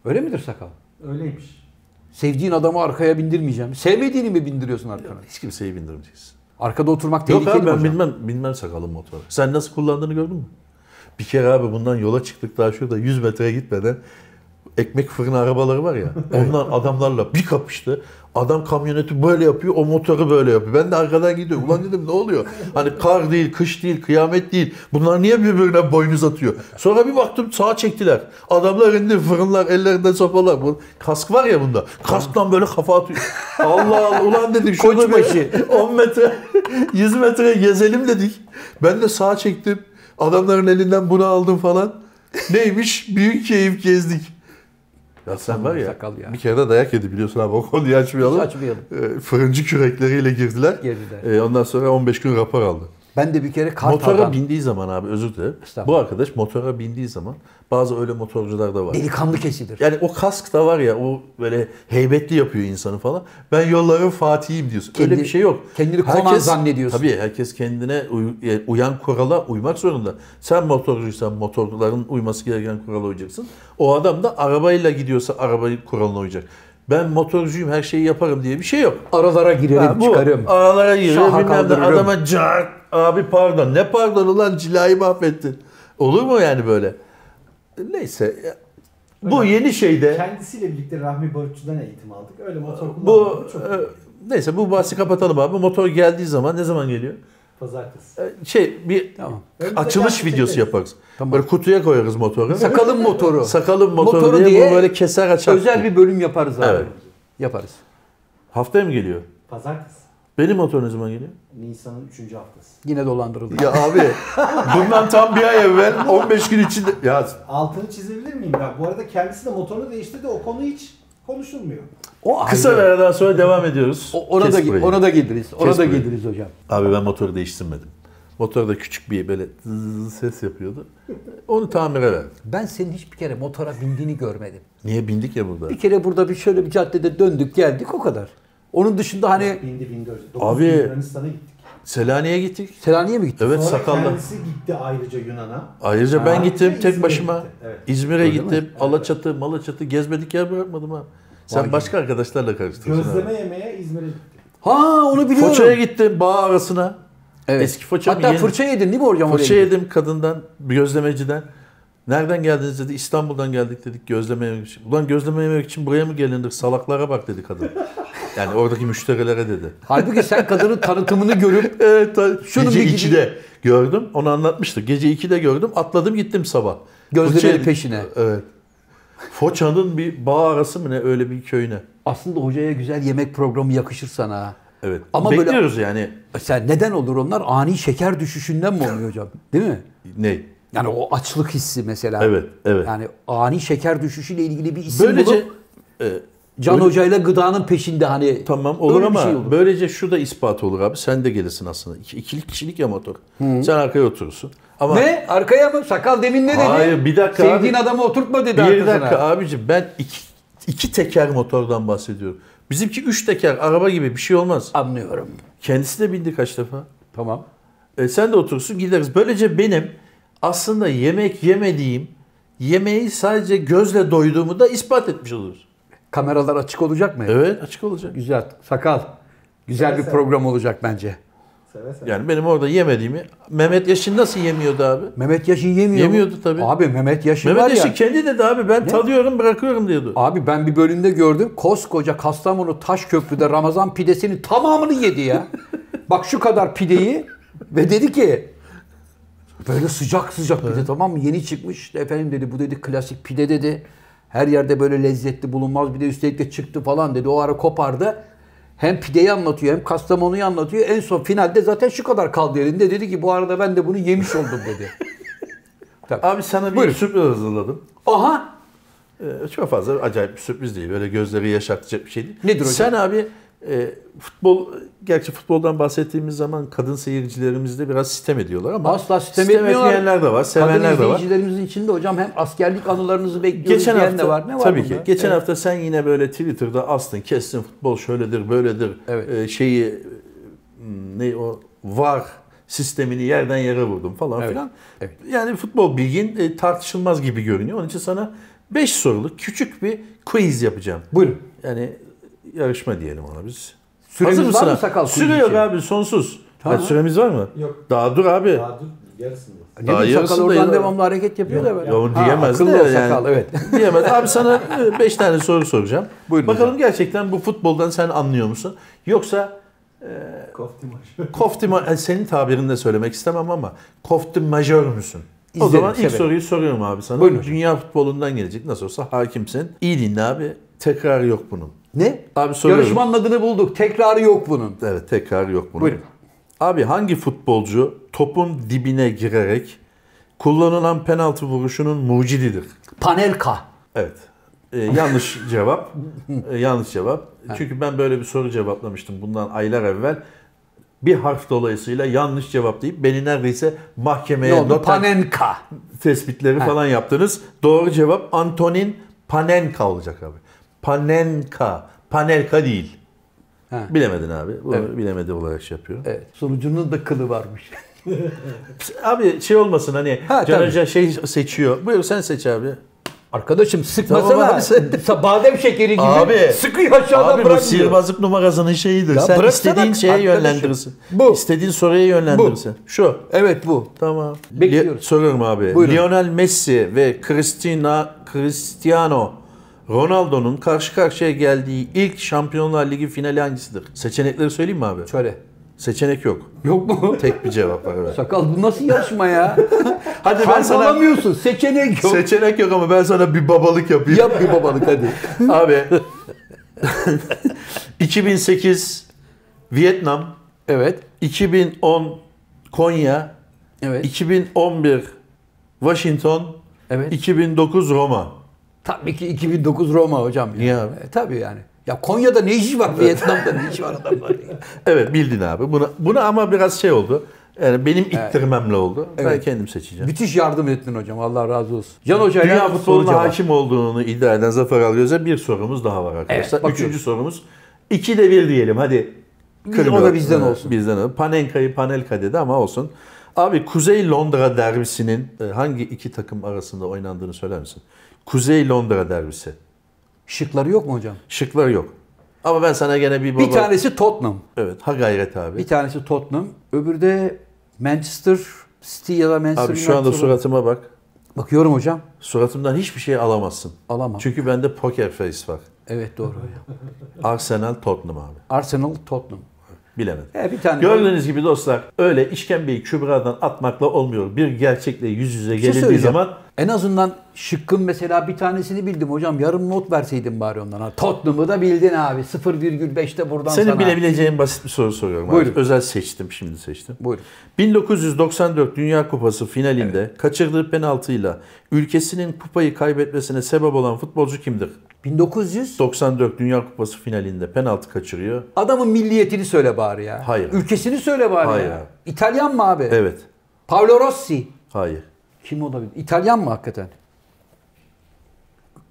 A: Öyle midir sakal?
C: Öyleymiş.
A: Sevdiğin adamı arkaya bindirmeyeceğim. Sevmediğini mi bindiriyorsun arkana?
B: Hiç kimseyi bindirmeyeceksin.
A: Arkada oturmak
B: Yok
A: tehlikeli
B: abi
A: mi
B: ben
A: hocam?
B: bilmem, bilmem sakalın motoru. Sen nasıl kullandığını gördün mü? Bir kere abi bundan yola çıktık daha şurada 100 metreye gitmeden ekmek fırını arabaları var ya. Ondan adamlarla bir kapıştı. Adam kamyoneti böyle yapıyor, o motoru böyle yapıyor. Ben de arkadan gidiyorum. Ulan dedim ne oluyor? Hani kar değil, kış değil, kıyamet değil. Bunlar niye birbirine boynuz atıyor? Sonra bir baktım sağa çektiler. Adamlar indi fırınlar, ellerinde sopalar. Bu, kask var ya bunda. Kasktan böyle kafa atıyor. Allah Allah ulan dedim şurada bir-
A: Koçbaşı.
B: 10 metre, 100 metre gezelim dedik. Ben de sağa çektim. Adamların elinden bunu aldım falan. Neymiş? Büyük keyif gezdik. Ya sen var ya,
A: sakal ya.
B: bir kere de dayak yedi biliyorsun abi o konuyu açmayalım.
A: Hiç açmayalım.
B: Ee, fırıncı kürekleriyle girdiler.
A: Girdiler.
B: Ee, ondan sonra 15 gün rapor aldı.
A: Ben de bir kere
B: Motora
A: Kartal'dan
B: bindiği zaman abi özür dilerim. Bu
A: Estağfurullah.
B: arkadaş motora bindiği zaman bazı öyle motorcular da var.
A: delikanlı kesilir.
B: Yani o kask da var ya o böyle heybetli yapıyor insanı falan. Ben yolların Fatih'im diyorsun. Öyle
A: Kendi-
B: bir şey yok.
A: kendini konan zannediyorsun.
B: Tabii herkes kendine uy- yani uyan kurala uymak zorunda. Sen motorcuysan motorcuların uyması gereken kurala uyacaksın. O adam da arabayla gidiyorsa arabayı kuralına uyacak. Ben motorcuyum her şeyi yaparım diye bir şey yok.
A: Aralara girerim,
B: Ha, bu
A: çıkarım.
B: Aralara giriyor
A: Şaha
B: bilmem ne.
A: kaldırırım.
B: Adama cart. Abi pardon. Ne pardon ulan cilayı mahvettin. Olur mu yani böyle? Neyse. ya. Bu yeni şeyde.
C: Kendisiyle birlikte Rahmi Barutçu'dan eğitim aldık. Öyle motor
B: Bu
C: kullanmak çok
B: e, neyse bu bahsi kapatalım abi. Motor geldiği zaman ne zaman geliyor?
C: pazartesi.
B: E, Şey bir
A: Tamam.
B: açılış
C: Önce
B: videosu
C: bahsederiz.
B: yaparız. Böyle kutuya koyarız motoru.
A: Sakalın motoru.
B: Sakalın motoru,
A: Motoru
B: diye,
A: diye
B: bu böyle keser açar.
A: Özel bir bölüm yaparız abi.
B: Evet.
A: Yaparız.
B: Haftaya mı geliyor?
C: Pazartesi.
B: Benim motor ne zaman geliyor?
C: Nisan'ın 3. haftası.
A: Yine dolandırıldı.
B: Ya abi bundan tam bir ay evvel 15 gün içinde ya
C: Altını çizebilir miyim ben? Bu arada kendisi de motorunu değiştirdi. O konu hiç konuşulmuyor.
A: O
B: kısa bir
A: ayrı.
B: aradan sonra devam ediyoruz.
A: O- ona,
B: Kes
A: da,
B: burayı.
A: ona da geliriz. Ona
B: Kes
A: da
B: burayı.
A: geliriz hocam.
B: Abi ben motoru değiştirmedim. Motorda küçük bir böyle zzzz ses yapıyordu. Onu tamire verdim.
A: Ben senin hiçbir kere motora bindiğini görmedim.
B: Niye bindik ya burada?
A: Bir kere burada bir şöyle bir caddede döndük geldik o kadar. Onun dışında hani
C: Bindi bindi. öyle. Dokuz
B: Abi-
C: gün Yunanistan'a gittik.
B: Selanik'e gittik.
A: Selanik'e mi gittin?
B: Evet
C: Sonra
B: sakallı.
C: kendisi gitti ayrıca Yunan'a.
B: Ayrıca
C: Ha.
B: ben gittim
C: İzmir'e
B: tek başıma.
C: gitti, evet.
B: İzmir'e gittim. Alaçatı, Malaçatı gezmedik yer bırakmadım ha. Sen başka arkadaşlarla karıştırıyorsun.
C: Gözleme
B: abi.
C: yemeye İzmir'e gitti.
A: Ha onu biliyorum.
B: Foça'ya gittim bağ arasına.
A: Evet.
B: Eski Foça'nın
A: Hatta
B: yeni-
A: fırça yedin değil mi hocam?
B: Fırça
A: oraya gidip?
B: yedim şey kadından, bir gözlemeciden. Nereden geldiniz dedi. İstanbul'dan geldik dedik gözleme yemek için. Ulan gözleme yemek için buraya mı gelinir? Salaklara bak dedi kadın. Yani oradaki müşterilere dedi.
A: Halbuki sen kadının tanıtımını görüp
B: Evet, tabii.
A: Şunun
B: gece
A: bir gidip-
B: 2'de gördüm. Onu anlatmıştık. Gece 2'de gördüm. Atladım gittim sabah.
A: Gözlemeli
B: Fırça yedim.
A: peşine.
B: Evet. Foça'nın bir bağ arası mı ne öyle bir köyüne.
A: aslında hocaya güzel yemek programı yakışır sana.
B: Evet.
A: Ama
B: Ama
A: böyle-
B: Bekliyoruz yani.
A: Sen neden olur onlar? Ani şeker düşüşünden mi oluyor hocam? Değil mi?
B: Ne?
A: Yani o açlık hissi mesela.
B: Evet, evet.
A: Yani ani şeker düşüşüyle ilgili bir isim
B: Böylece
A: bulup
B: e,
A: Can
B: Böyle-
A: Hoca'yla gıdanın peşinde hani
B: Tamam olur
A: öyle bir
B: ama
A: şey olur.
B: böylece şu da ispat olur abi. Sen de gelirsin aslında. İki, ikili kişilik ya motor. Sen arkaya oturursun. Ama
A: Ne? Arkaya mı? Sakal demin ne dedi?
B: Hayır, bir dakika
A: Sevdiğin
B: abi.
A: adamı oturtma dedi
B: bir
A: arkasına.
B: dakika abicim ben iki, iki teker motordan bahsediyorum. Bizimki üç teker araba gibi bir şey olmaz.
A: Anlıyorum.
B: Kendisi de bindi kaç defa.
A: Tamam.
B: E, sen de oturursun gideriz. Böylece benim aslında yemek yemediğim, yemeği sadece gözle doyduğumu da ispat etmiş oluruz.
A: Kameralar açık olacak mı?
B: Evet açık olacak.
A: Güzel. Sakal. Güzel bir
C: Evet,
A: program olacak bence.
C: Seve seve.
B: Yani benim orada yemediğimi Mehmet Yaşin nasıl yemiyordu abi?
A: Mehmet Yaşin yemiyor mu?
B: Yemiyordu tabii.
A: Abi Mehmet Yaşin
B: Mehmet
A: var ya.
B: Yaşin kendi dedi abi ben tadıyorum bırakıyorum diyordu.
A: Abi ben bir bölümde gördüm. Koskoca Kastamonu Taşköprü'de Ramazan pidesinin tamamını yedi ya. Bak şu kadar pideyi ve dedi ki Böyle sıcak sıcak pide tamam mı? Yeni çıkmış. Efendim dedi bu dedi klasik pide dedi. Her yerde böyle lezzetli bulunmaz. Bir de üstelik de çıktı falan dedi. O ara kopardı. Hem pideyi anlatıyor hem Kastamonu'yu anlatıyor. En son finalde zaten şu kadar kaldı elinde. Dedi ki bu arada ben de bunu yemiş oldum dedi.
B: Abi sana bir sürpriz hazırladım.
A: Aha!
B: Ee, Çok fazla acayip bir sürpriz değil. Böyle gözleri yaşartacak bir şey değil.
A: Nedir hocam?
B: Sen abi e, futbol, gerçi futboldan bahsettiğimiz zaman kadın seyircilerimizde biraz sitem ediyorlar ama
A: Asla sitem, etmiyorlar.
B: etmeyenler de var, sevenler
A: Kadın
B: de var.
A: izleyicilerimizin içinde hocam hem askerlik anılarınızı bekliyoruz
B: Geçen
A: diyen
B: hafta
A: de var. Ne var
B: tabii
A: bunda?
B: ki. Geçen hafta sen yine böyle Twitter'da astın, kestin futbol şöyledir, böyledir.
A: Evet.
B: e, şeyi e, ne o var sistemini yerden yere vurdum falan
A: Evet,
B: filan.
A: evet.
B: Yani futbol bilgin e, tartışılmaz gibi görünüyor. Onun için sana 5 soruluk küçük bir quiz yapacağım.
A: Buyurun.
B: Yani yarışma diyelim ona biz.
A: Süremiz
B: Hazır mısın
A: var mı
B: abi?
A: sakal quiz
B: Süre yok
A: için?
B: abi sonsuz.
A: Tamam.
B: Ha, süremiz var mı?
C: Yok.
B: Daha dur abi.
C: Daha dur yarısında.
A: Ne
B: Daha
A: bileyim, sakal
B: yarısındayız
A: oradan
B: abi.
A: devamlı hareket yapıyor da böyle.
B: Ya onu
A: Ha,
B: diyemez
A: akıllı
B: de
A: o
B: yani.
A: sakal, evet.
B: Diyemez. Abi sana 5 tane soru soracağım.
A: Buyurun
B: Bakalım gerçekten bu futboldan sen anlıyor musun? Yoksa
C: Koftimaş.
B: kofti ma- yani senin tabirinde söylemek istemem ama kofti majör müsün? O
A: İzlerim,
B: zaman ilk
A: severim.
B: soruyu soruyorum abi sana.
A: Buyurun hocam.
B: Dünya futbolundan gelecek. Nasıl olsa hakimsin. İyi dinle abi. Tekrar yok bunun.
A: Ne?
B: Abi soruyorum.
A: Yarışmanın adını bulduk. Tekrarı yok bunun.
B: Evet tekrar yok bunun.
A: Buyurun.
B: Abi hangi futbolcu topun dibine girerek kullanılan penaltı vuruşunun mucididir?
A: Panelka.
B: Evet. Ee, yanlış cevap. Ee, yanlış cevap. Çünkü ben böyle bir soru cevaplamıştım bundan aylar evvel. Bir harf dolayısıyla yanlış cevap deyip beni neredeyse
A: Ne
B: mahkemeye
A: oldu?
B: not
A: Panenka.
B: tespitleri falan yaptınız. Doğru cevap Antonin Panenka olacak abi. Panenka. Panelka değil.
A: Ha.
B: Bilemedin abi. Bunu bilemedi olarak şey yapıyorum.
A: Evet. Sonucunun da kılı varmış.
B: Abi şey olmasın hani
A: Ha,
B: Can
A: tabii.
B: Hoca şey seçiyor. Buyur sen seç abi.
A: Arkadaşım sıkmasana.
B: Tamam abi, sen-
A: Sa- Badem şekeri gibi
B: Abi.
A: sıkıyor aşağıdan
B: Abi bu
A: bırakmıyor.
B: sihirbazlık numarasının şeyidir.
A: Ya
B: Sen
A: bıraksana
B: istediğin şeye
A: arkadaşım.
B: yönlendirirsin.
A: Bu.
B: İstediğin soruya yönlendirirsin. Şu.
A: Evet bu.
B: Tamam.
A: Bekliyoruz.
B: Le- Soruyorum abi.
A: Buyurun.
B: Lionel Messi ve Cristina Cristiano Ronaldo'nun karşı karşıya geldiği ilk Şampiyonlar Ligi finali hangisidir? Seçenekleri söyleyeyim mi abi?
A: Şöyle.
B: Seçenek yok.
A: Yok mu?
B: Tek bir cevap var. Evet.
A: Sakal bu nasıl yarışma ya?
B: Hadi ben
A: Harf
B: sana
A: alamıyorsun. Seçenek yok.
B: seçenek yok ama ben sana bir babalık yapayım.
A: Yap bir babalık hadi.
B: Abi 2008 Vietnam,
A: Evet.
B: 2010 Konya,
A: Evet.
B: 2011 Washington,
A: Evet.
B: 2009 Roma.
A: Tabii ki 2009 Roma hocam. Ya.
B: Niye abi?
A: E, tabii yani. Ya Konya'da ne işi var? Vietnam'da ne işi var adamların? ya?
B: Evet bildin abi. Bunu, bunu ama biraz şey oldu. Yani benim ittirmemle oldu. Ben
A: Evet.
B: kendim seçeceğim.
A: Müthiş yardım ettin hocam. Allah razı olsun. Can Hoca
B: Dünya
A: ile
B: futboluna
A: sonuca bak.
B: hakim olduğunu iddia eden Zafer Algöz'e bir sorumuz daha var arkadaşlar.
A: Evet, bakıyoruz.
B: Üçüncü sorumuz. İki de bir diyelim hadi.
A: o da bizden
B: Ee,
A: olsun.
B: Bizden olsun. Panenka'yı Panelka dedi ama olsun. Abi Kuzey Londra derbisinin e, hangi iki takım arasında oynandığını söyler misin? Kuzey Londra derbisi.
A: Şıkları yok mu hocam?
B: Şıklar yok. Ama ben sana gene bir baba...
A: Bir tanesi Tottenham.
B: Evet ha gayret abi.
A: Bir tanesi Tottenham. Öbürü de Manchester City ya da Manchester
B: abi şu anda
A: United.
B: suratıma bak.
A: Bakıyorum hocam.
B: Suratımdan hiçbir şey alamazsın.
A: Alamam.
B: Çünkü bende poker face var.
A: Evet doğru hocam.
B: Arsenal Tottenham abi.
A: Arsenal Tottenham.
B: Bilemedim.
A: E, bir tane
B: Gördüğünüz gibi dostlar öyle işkembeyi kübradan atmakla olmuyor. Bir gerçekle yüz yüze
A: Bir şey
B: gelindiği
A: söyleyeceğim.
B: zaman
A: en azından şıkkın mesela bir tanesini bildim hocam. Yarım not verseydin bari ondan. Ha, Tottenham'ı da bildin abi. 0,5'te buradan
B: senin
A: sana.
B: bilebileceğin basit bir soru soruyorum. abi.
A: Buyurun.
B: Özel seçtim şimdi seçtim.
A: Buyurun.
B: 1994 Dünya Kupası finalinde kaçırdığı penaltıyla ülkesinin kupayı kaybetmesine sebep olan futbolcu kimdir?
A: 1900
B: 94 Dünya Kupası finalinde penaltı kaçırıyor.
A: Adamın milliyetini söyle bari ya.
B: Hayır.
A: Ülkesini söyle bari
B: Hayır
A: ya.
B: abi.
A: İtalyan mı abi?
B: Evet.
A: Paolo Rossi.
B: Hayır.
A: Kim olabilir? İtalyan mı hakikaten?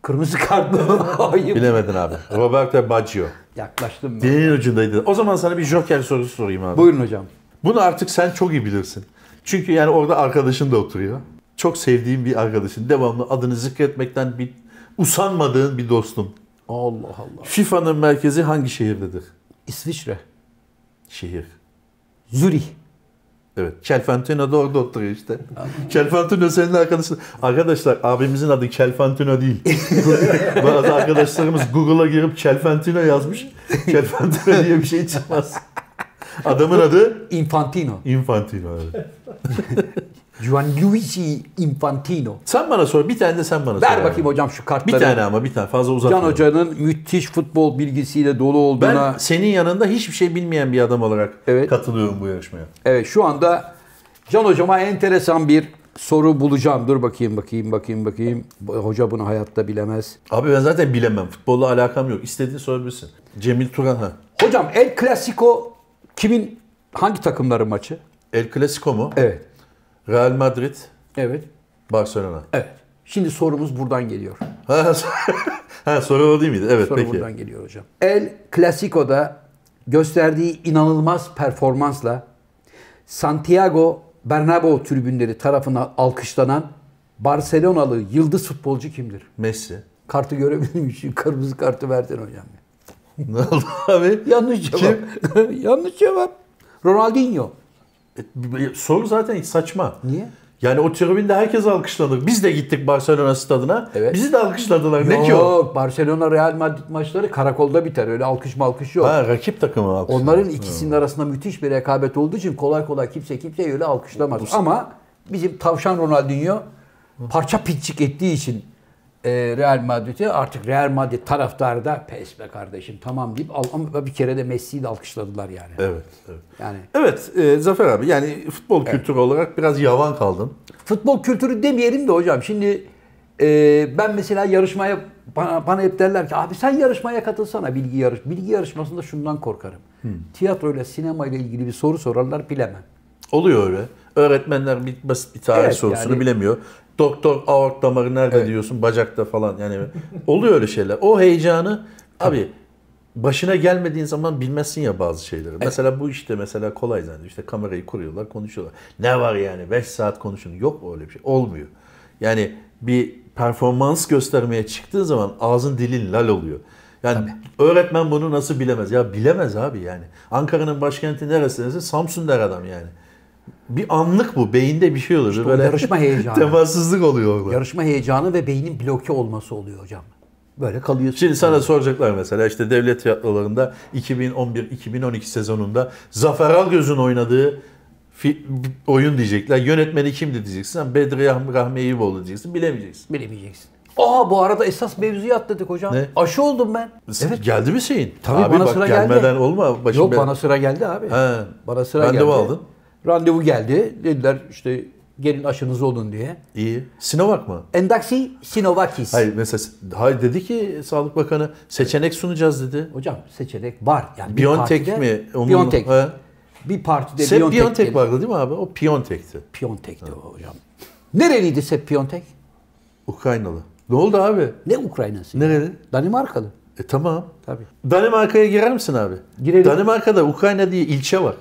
A: Kırmızı kart mı? Hayır.
B: Bilemedin abi. Roberto Baggio.
A: Yaklaştım ben.
B: Dilin ucundaydı. O zaman sana bir joker sorusu sorayım abi.
A: Buyurun hocam.
B: Bunu artık sen çok iyi bilirsin. Çünkü yani orada arkadaşın da oturuyor. Çok sevdiğim bir arkadaşın. Devamlı adını zikretmekten bir usanmadığın bir dostun.
A: Allah Allah.
B: FIFA'nın merkezi hangi şehirdedir?
A: İsviçre.
B: Şehir.
A: Zürih.
B: Evet. Kelfantino da orada oturuyor işte. Kelfantino senin arkadaşın. Arkadaşlar abimizin adı Kelfantino değil. Bazı arkadaşlarımız Google'a girip Kelfantino yazmış. Kelfantino diye bir şey çıkmaz. Adamın adı
A: Infantino.
B: Infantino. evet.
A: Gianluigi Infantino.
B: Sen bana sor. Bir tane de sen bana sor.
A: Ver
B: abi.
A: bakayım hocam şu
B: Bir
A: kartları.
B: tane ama bir tane. Fazla
A: Can
B: uzatma.
A: Hoca'nın müthiş futbol bilgisiyle dolu
B: Ben
A: olduğuna
B: senin yanında hiçbir şey bilmeyen bir adam olarak
A: Evet.
B: katılıyorum bu yarışmaya.
A: Evet şu anda Can Hocama enteresan bir soru bulacağım. Dur bakayım bakayım bakayım bakayım. Bu- Hoca bunu hayatta bilemez.
B: Abi ben zaten bilemem. Futbolla alakam yok. İstediğini sorabilirsin. Cemil Turan ha.
A: Hocam El Clasico kimin hangi takımların maçı?
B: El Clasico mu?
A: Evet.
B: Real Madrid,
A: Evet.
B: Barcelona.
A: Evet. Şimdi sorumuz buradan geliyor.
B: Ha, so- ha soru o değil miydi? Evet
A: Soru
B: peki.
A: buradan geliyor hocam. El Clasico'da gösterdiği inanılmaz performansla Santiago Bernabéu tribünleri tarafından alkışlanan Barcelonalı yıldız futbolcu kimdir?
B: Messi.
A: Kartı görebilir miyim? Şu Kırmızı kartı verdin hocam. ya.
B: Ne oldu abi?
A: Yanlış cevap. Yanlış cevap. Ronaldinho.
B: E, Soru zaten saçma.
A: Niye?
B: Yani o tribünde herkes alkışlanır. Biz de gittik Barcelona stadına.
A: Evet.
B: Bizi de alkışladılar. Ne ki o?
A: Yok. Barcelona Real Madrid maçları karakolda biter. Öyle alkış malkış yok.
B: Ha, rakip takımı alkışladı.
A: Onların ikisinin arasında müthiş bir rekabet olduğu için kolay kolay kimse kimseyi öyle alkışlamaz. Ama bizim tavşan Ronaldinho parça pinçik ettiği için e, Real Madrid'i artık Real Madrid taraftarı da pes be kardeşim tamam deyip al- ama bir kere de Messi'yi de alkışladılar yani.
B: Evet. evet.
A: Yani
B: Evet e, Zafer abi yani futbol kültürü olarak biraz yavan kaldın.
A: Futbol kültürü demeyelim de hocam. Şimdi e, ben mesela yarışmaya bana, bana hep derler ki abi sen yarışmaya katılsana bilgi yarış. Bilgi yarışmasında şundan korkarım. Tiyatro ile sinema ile ilgili bir soru sorarlar bilemem.
B: Oluyor öyle. Öğretmenler bir basit bir tarih
A: Evet,
B: sorusunu
A: yani-
B: bilemiyor. Doktor aort damarı nerede diyorsun bacakta falan yani oluyor öyle şeyler. O heyecanı abi başına gelmediğin zaman bilmezsin ya bazı şeyleri. Mesela bu işte mesela kolay zannediyor. İşte kamerayı kuruyorlar konuşuyorlar. Ne var yani 5 saat konuşun. Yok öyle bir şey. Olmuyor. Yani bir performans göstermeye çıktığın zaman ağzın dilin lal oluyor. Yani öğretmen bunu nasıl bilemez? Ya bilemez abi yani. Ankara'nın başkenti neresi? derse Samsun der adam yani. Bir anlık bu. Beyinde bir şey olur.
A: o yarışma heyecanı.
B: Temassızlık oluyor orada.
A: Yarışma heyecanı ve beynin bloke olması oluyor hocam. Böyle kalıyorsun.
B: Şimdi sana soracaklar mesela işte devlet tiyatrolarında 2011-2012 sezonunda Zafer Algöz'ün oynadığı fi- oyun diyecekler. Yönetmeni kimdi diyeceksin. Sen Bedri Yah- Rahmi Eyüboğlu diyeceksin. Bilemeyeceksin.
A: Bilemeyeceksin. Aa bu arada esas mevzuyu atladık hocam.
B: Ne?
A: Aşı oldum ben.
B: Evet. Geldi mi şeyin?
A: Tabii
B: Abi
A: bana
B: bak
A: sıra geldi.
B: gelmeden olma. Başım
A: Yok
B: bela-
A: bana sıra geldi abi.
B: He.
A: Bana sıra
B: Randevu
A: geldi.
B: aldın.
A: Randevu geldi. Dediler işte gelin aşınız olun diye.
B: İyi. Sinovac mı?
A: Endaksi Sinovakis.
B: Hayır mesela hayır dedi ki Sağlık Bakanı seçenek sunacağız dedi.
A: Hocam seçenek var. Yani bir
B: Biontech
A: partide-
B: mi? Onun-
A: Biontech.
B: He.
A: Bir partide
B: Sep
A: Biontech.
B: Biontech,
A: dedi.
B: vardı değil mi abi? O Piontek'ti.
A: Biontech'ti o hocam. Nereliydi Sep Biontech?
B: Ukraynalı. Ne oldu abi?
A: Ne Ukrayna'sı?
B: Nereli?
A: Danimarkalı.
B: E tamam.
A: Tabii.
B: Danimarka'ya girer misin abi?
A: Girerim.
B: Danimarka'da Ukrayna diye ilçe var.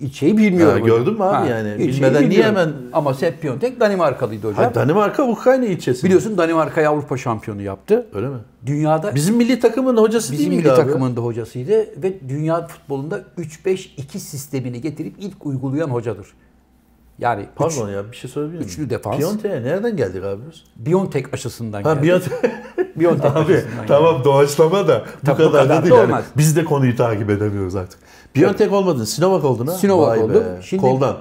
A: İlçeyi bilmiyorum.
B: Ha,
A: hocam.
B: gördün mü abi yani?
A: ilçeyi
B: Bilmeden niye
A: bilmiyorum.
B: hemen-
A: Ama Sep Biontech Danimarkalıydı hocam.
B: Ha, Danimarka Ukrayna ilçesi.
A: Biliyorsun Danimarka'yı Avrupa şampiyonu yaptı.
B: Öyle mi?
A: Dünyada
B: Bizim milli takımın hocası
A: Bizim
B: değil
A: milli
B: miydi abi?
A: takımın da hocasıydı ve dünya futbolunda 3-5-2 sistemini getirip ilk uygulayan hocadır. Yani üç,
B: Pardon ya bir şey sorabilir miyim?
A: üçlü defans.
B: Piontek'e nereden geldik abi biz?
A: Biontech aşısından
B: Ha
A: geldi.
B: Piontek.
A: Biontech
B: abi
A: aşısından geldi.
B: tamam doğaçlama da bu
A: Tabii, bu
B: kadar,
A: kadar
B: da
A: da
B: değil. yani.
A: olmaz.
B: Biz de konuyu takip edemiyoruz artık. Piontek olmadın. Sinovac oldun ha?
A: Sinovac
B: Vay be,
A: oldum. Şimdi-
B: Koldan.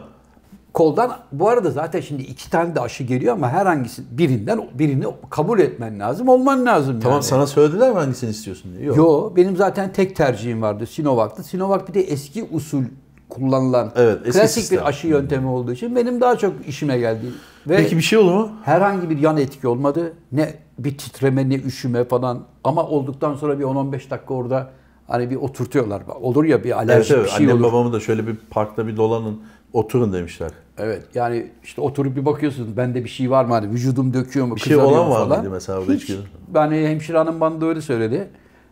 A: Koldan bu arada zaten şimdi iki tane de aşı geliyor ama herhangisi birinden birini kabul etmen lazım, olman lazım
B: Tamam
A: yani.
B: sana söylediler mi hangisini istiyorsun diye. Yok.
A: Yo benim zaten tek tercihim vardı Sinovac'tı. Sinovac bir de eski usul kullanılan
B: Evet, eski
A: klasik
B: sistem.
A: bir aşı yöntemi olduğu için benim daha çok işime geldi. Ve
B: Peki bir şey olur mu?
A: Herhangi bir yan etki olmadı. Ne bir titreme ne üşüme falan. Ama olduktan sonra bir 10-15 dakika orada hani bir oturtuyorlar. Olur ya bir
B: Evet,
A: alerjik
B: evet.
A: bir şey
B: Annem
A: olur.
B: babamı da şöyle bir parkta bir dolanın oturun demişler.
A: Evet yani işte oturup bir bakıyorsun bende bir şey var mı hani vücudum döküyor mu
B: şey
A: kızarıyor
B: olan
A: mu
B: var
A: falan.
B: mıydı mesela orada hiç
A: hiç,
B: gördün mü?
A: yani hemşire hanım bana da öyle söyledi.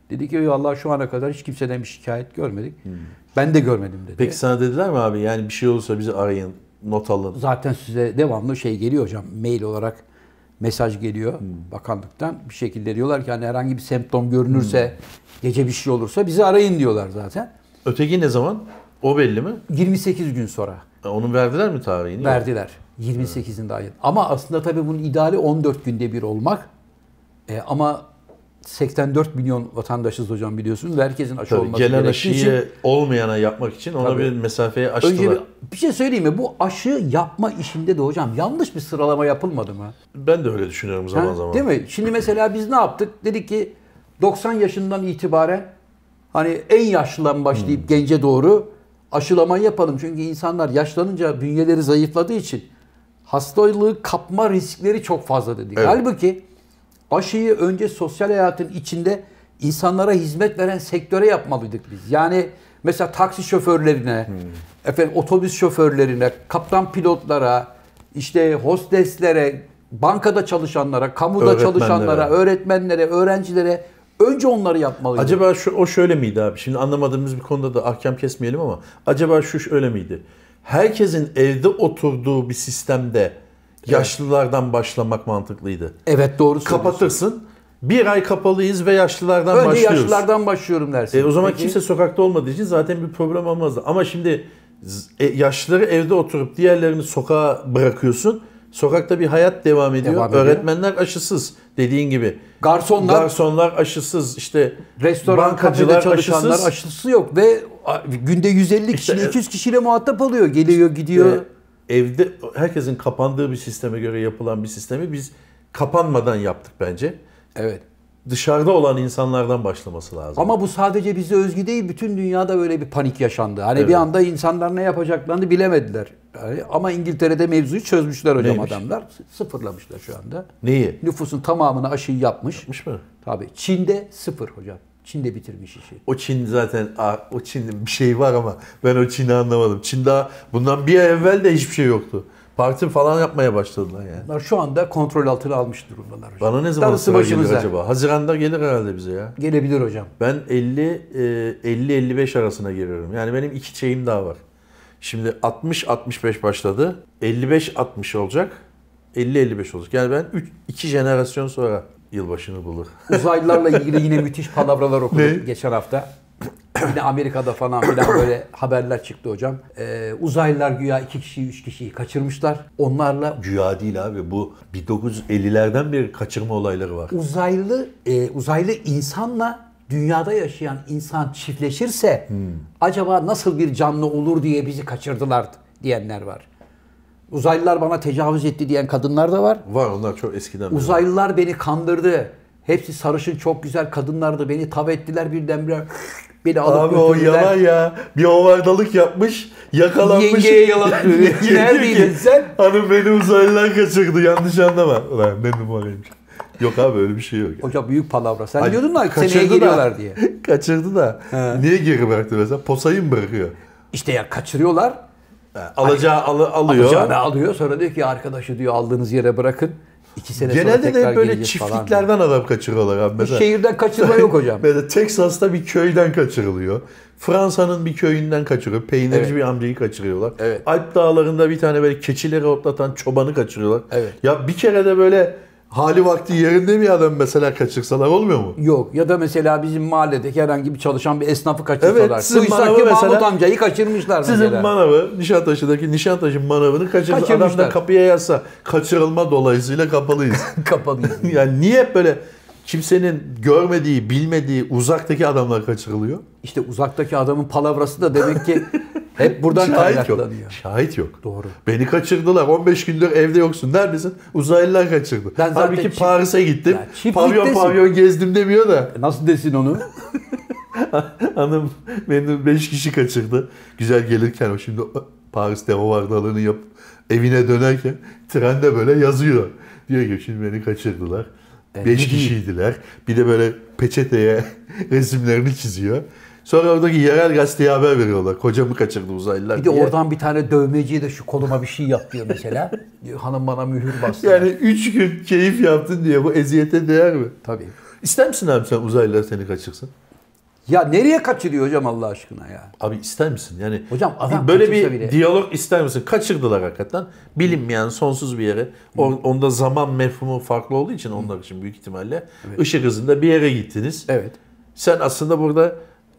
A: Dedi ki Allah şu ana kadar hiç kimseden bir şikayet görmedik. Ben de görmedim dedi.
B: Hmm. Peki sana dediler mi abi yani bir şey olursa bizi arayın, not alın.
A: Zaten size devamlı şey geliyor hocam. Mail olarak mesaj geliyor
B: Hmm.
A: bakanlıktan. Bir şekilde diyorlar ki hani herhangi bir semptom görünürse,
B: Hmm.
A: gece bir şey olursa bizi arayın diyorlar zaten.
B: Öteki ne zaman? O belli mi?
A: 28 gün sonra
B: E, Onu verdiler mi tarihini?
A: verdiler. 28'inde ayın. Ama aslında tabii bunun ideali 14 günde bir olmak. E, ama 84 milyon vatandaşız hocam biliyorsunuz ve herkesin aşı
B: Tabii,
A: olması
B: gelen
A: gerektiği
B: aşıyı
A: için
B: olmayana yapmak için ona
A: Tabii.
B: bir mesafeye açtılar.
A: önce bir, bir şey söyleyeyim mi? Bu aşı yapma işinde de hocam yanlış bir sıralama yapılmadı mı?
B: Ben de öyle düşünüyorum zaman
A: Ha,
B: zaman.
A: Değil mi? Şimdi mesela biz ne yaptık? Dedik ki 90 yaşından itibaren hani en yaşlıdan başlayıp gence doğru aşılama yapalım. Çünkü insanlar yaşlanınca bünyeleri zayıfladığı için hastalığı kapma riskleri çok fazla dedik.
B: Evet.
A: Halbuki aşıyı önce sosyal hayatın içinde insanlara hizmet veren sektöre yapmalıydık biz. Yani mesela taksi şoförlerine, efendim otobüs şoförlerine, kaptan pilotlara, işte hosteslere, bankada çalışanlara, kamuda
B: Öğretmenlere.
A: çalışanlara, öğretmenlere, öğrencilere önce onları yapmalıydık.
B: Acaba şu o şöyle miydi abi? Şimdi anlamadığımız bir konuda da ahkam kesmeyelim ama acaba şu şöyle miydi? Herkesin evde oturduğu bir sistemde yaşlılardan başlamak mantıklıydı.
A: evet doğru söylüyorsun.
B: Kapatırsın. Bir ay kapalıyız ve yaşlılardan
A: Önce
B: başlıyoruz.
A: yaşlılardan başlıyorum dersin.
B: E, o zaman
A: Peki.
B: kimse sokakta olmadığı için zaten bir problem olmazdı. Ama şimdi z- e, yaşlıları evde oturup diğerlerini sokağa bırakıyorsun. Sokakta bir hayat devam ediyor.
A: Devam ediyor.
B: Öğretmenler aşısız dediğin gibi.
A: garsonlar,
B: Garsonlar aşısız işte
A: restoran, kafede
B: bankacılar
A: çalışanlar
B: aşısız. E,
A: aşısı yok ve a- günde 150
B: İşte,
A: kişiyle
B: e-
A: 200 kişiyle muhatap oluyor. Geliyor, gidiyor.
B: Ve evde herkesin kapandığı bir sisteme göre yapılan bir sistemi biz kapanmadan yaptık bence.
A: evet.
B: Dışarıda olan insanlardan başlaması lazım.
A: Ama bu sadece bize özgü değil, bütün dünyada böyle bir panik yaşandı. Hani bir
B: Evet.
A: anda insanlar ne yapacaklarını bilemediler. Yani ama İngiltere'de mevzuyu çözmüşler hocam
B: Neymiş?
A: adamlar. Sıfırlamışlar şu anda.
B: Neyi?
A: Nüfusun tamamını aşıyı yapmış.
B: Yapmış mı?
A: Tabii. Çin'de sıfır hocam. Çin'de bitirmiş işi.
B: O Çin zaten aa, o Çin'de bir şey var ama ben o Çin'i anlamadım. Çin daha bundan bir ay evvel de hiçbir şey yoktu. Parti falan yapmaya başladılar yani.
A: Bunlar şu anda kontrol altına almış durumdalar hocam.
B: Bana ne zaman
A: Darısı
B: sıra gelir
A: başımıza.
B: acaba? Haziran'da gelir herhalde bize ya.
A: Gelebilir hocam.
B: Ben 50 e, 50 55 arasına giriyorum. Yani benim iki şeyim daha var. Şimdi 60 65 başladı. 55 60 olacak. 50 55 olacak. Yani ben 3 2 jenerasyon sonra yılbaşını bulur.
A: Uzaylılarla ilgili yine müthiş palavralar
B: Ne?
A: okudum geçen hafta. Yine Amerika'da falan filan böyle haberler çıktı hocam. Ee, uzaylılar güya iki kişiyi, üç kişiyi kaçırmışlar. Onlarla
B: Güya değil abi. Bu 1950'lerden beri kaçırma olayları var.
A: uzaylı e, uzaylı insanla dünyada yaşayan insan çiftleşirse acaba nasıl bir canlı olur diye bizi kaçırdılar diyenler var. Uzaylılar bana tecavüz etti diyen kadınlar da var.
B: Var onlar çok eskiden. beri.
A: Uzaylılar beni kandırdı. Hepsi sarışın çok güzel kadınlardı. Beni tav ettiler birdenbire. Beni alıp
B: Abi o
A: götürdüler.
B: yalan ya. Bir ovardalık yapmış, yakalanmış.
A: Yengeye yalan söylüyor.
B: Yenge diyor
A: Neredeydin
B: ki,
A: sen?
B: Hanım beni uzaylılar kaçırdı. Yanlış anlama. Ulan ne numaraymış. Yok abi öyle bir şey yok. ya.
A: Hocam büyük palavra. Sen
B: Ay,
A: diyordun lan seneye
B: kaçırdı da-
A: geliyorlar diye.
B: Kaçırdı da. Niye geri bıraktı mesela? Posayı mı bırakıyor?
A: İşte ya kaçırıyorlar.
B: Ha, Alacağı alı, alıyor.
A: Hani Alacağını alıyor. Sonra diyor ki arkadaşı diyor aldığınız yere bırakın. İki sene sonra
B: Genelde de
A: tekrar
B: hep böyle
A: geleceğiz falan diyor. Şey
B: çiftliklerden adam kaçırıyorlar abi.
A: Bir
B: Mesela,
A: şehirden kaçırma yok hocam.
B: Mesela Texas'ta bir köyden kaçırılıyor. Fransa'nın bir köyünden kaçırıyor. Peynirci
A: Evet.
B: bir amcayı kaçırıyorlar.
A: Evet.
B: Alp dağlarında bir tane böyle keçileri otlatan çobanı kaçırıyorlar.
A: Evet.
B: Ya bir kere de böyle hali vakti yerinde bir adam mesela kaçırsalar olmuyor mu?
A: Yok ya da mesela bizim mahalledeki herhangi bir çalışan bir esnafı kaçırsalar.
B: Evet, sizin
A: Duysak
B: manava
A: ki Mahmut
B: mesela-
A: amcayı kaçırmışlar
B: Sizin
A: mesela.
B: manavı, Nişantaşı'daki Nişantaşı manavını kaçırsa adam da
A: Kaçırmışlar.
B: kapıya yazsa kaçırılma dolayısıyla kapalıyız.
A: Kapalı.
B: yani niye hep böyle kimsenin görmediği, bilmediği uzaktaki adamlar kaçırılıyor?
A: İşte uzaktaki adamın palavrası da demek ki hep buradan
B: Şahit yok.
A: kaynaklanıyor.
B: Şahit yok.
A: Doğru.
B: Beni kaçırdılar. 15 gündür evde yoksun. Neredesin? Uzaylılar kaçırdı.
A: Ben zaten
B: Halbuki
A: çift-
B: Paris'e gittim.
A: Ya çiftliktesin.
B: pavyon pavyon gezdim demiyor da.
A: E, Nasıl desin onu?
B: Hanım beni 5 kişi kaçırdı. Güzel gelirken o şimdi Paris'te o vardalığını yap evine dönerken trende böyle yazıyor. Diyor ki şimdi beni kaçırdılar.
A: E,
B: 5 kişiydiler. Bir de böyle peçeteye resimlerini çiziyor. Sonra oradaki yerel gazeteye haber veriyorlar. Kocamı kaçırdı uzaylılar
A: Bir de
B: diye.
A: oradan bir tane dövmeciye de şu koluma bir şey yap diyor mesela. Diyor, hanım bana mühür bastı.
B: Yani 3 gün keyif yaptın diye bu eziyete değer mi?
A: Tabii.
B: İster misin abi sen uzaylılar seni kaçırsın?
A: Ya nereye kaçırıyor hocam Allah aşkına ya?
B: Abi ister misin? Yani
A: Hocam adam
B: böyle bir
A: kaçırsa bile-
B: diyalog ister misin? Kaçırdılar hakikaten. Bilinmeyen sonsuz bir yere. O- Onda zaman mefhumu farklı olduğu için onlar için büyük ihtimalle ışık hızında bir yere gittiniz.
A: Evet.
B: Sen aslında burada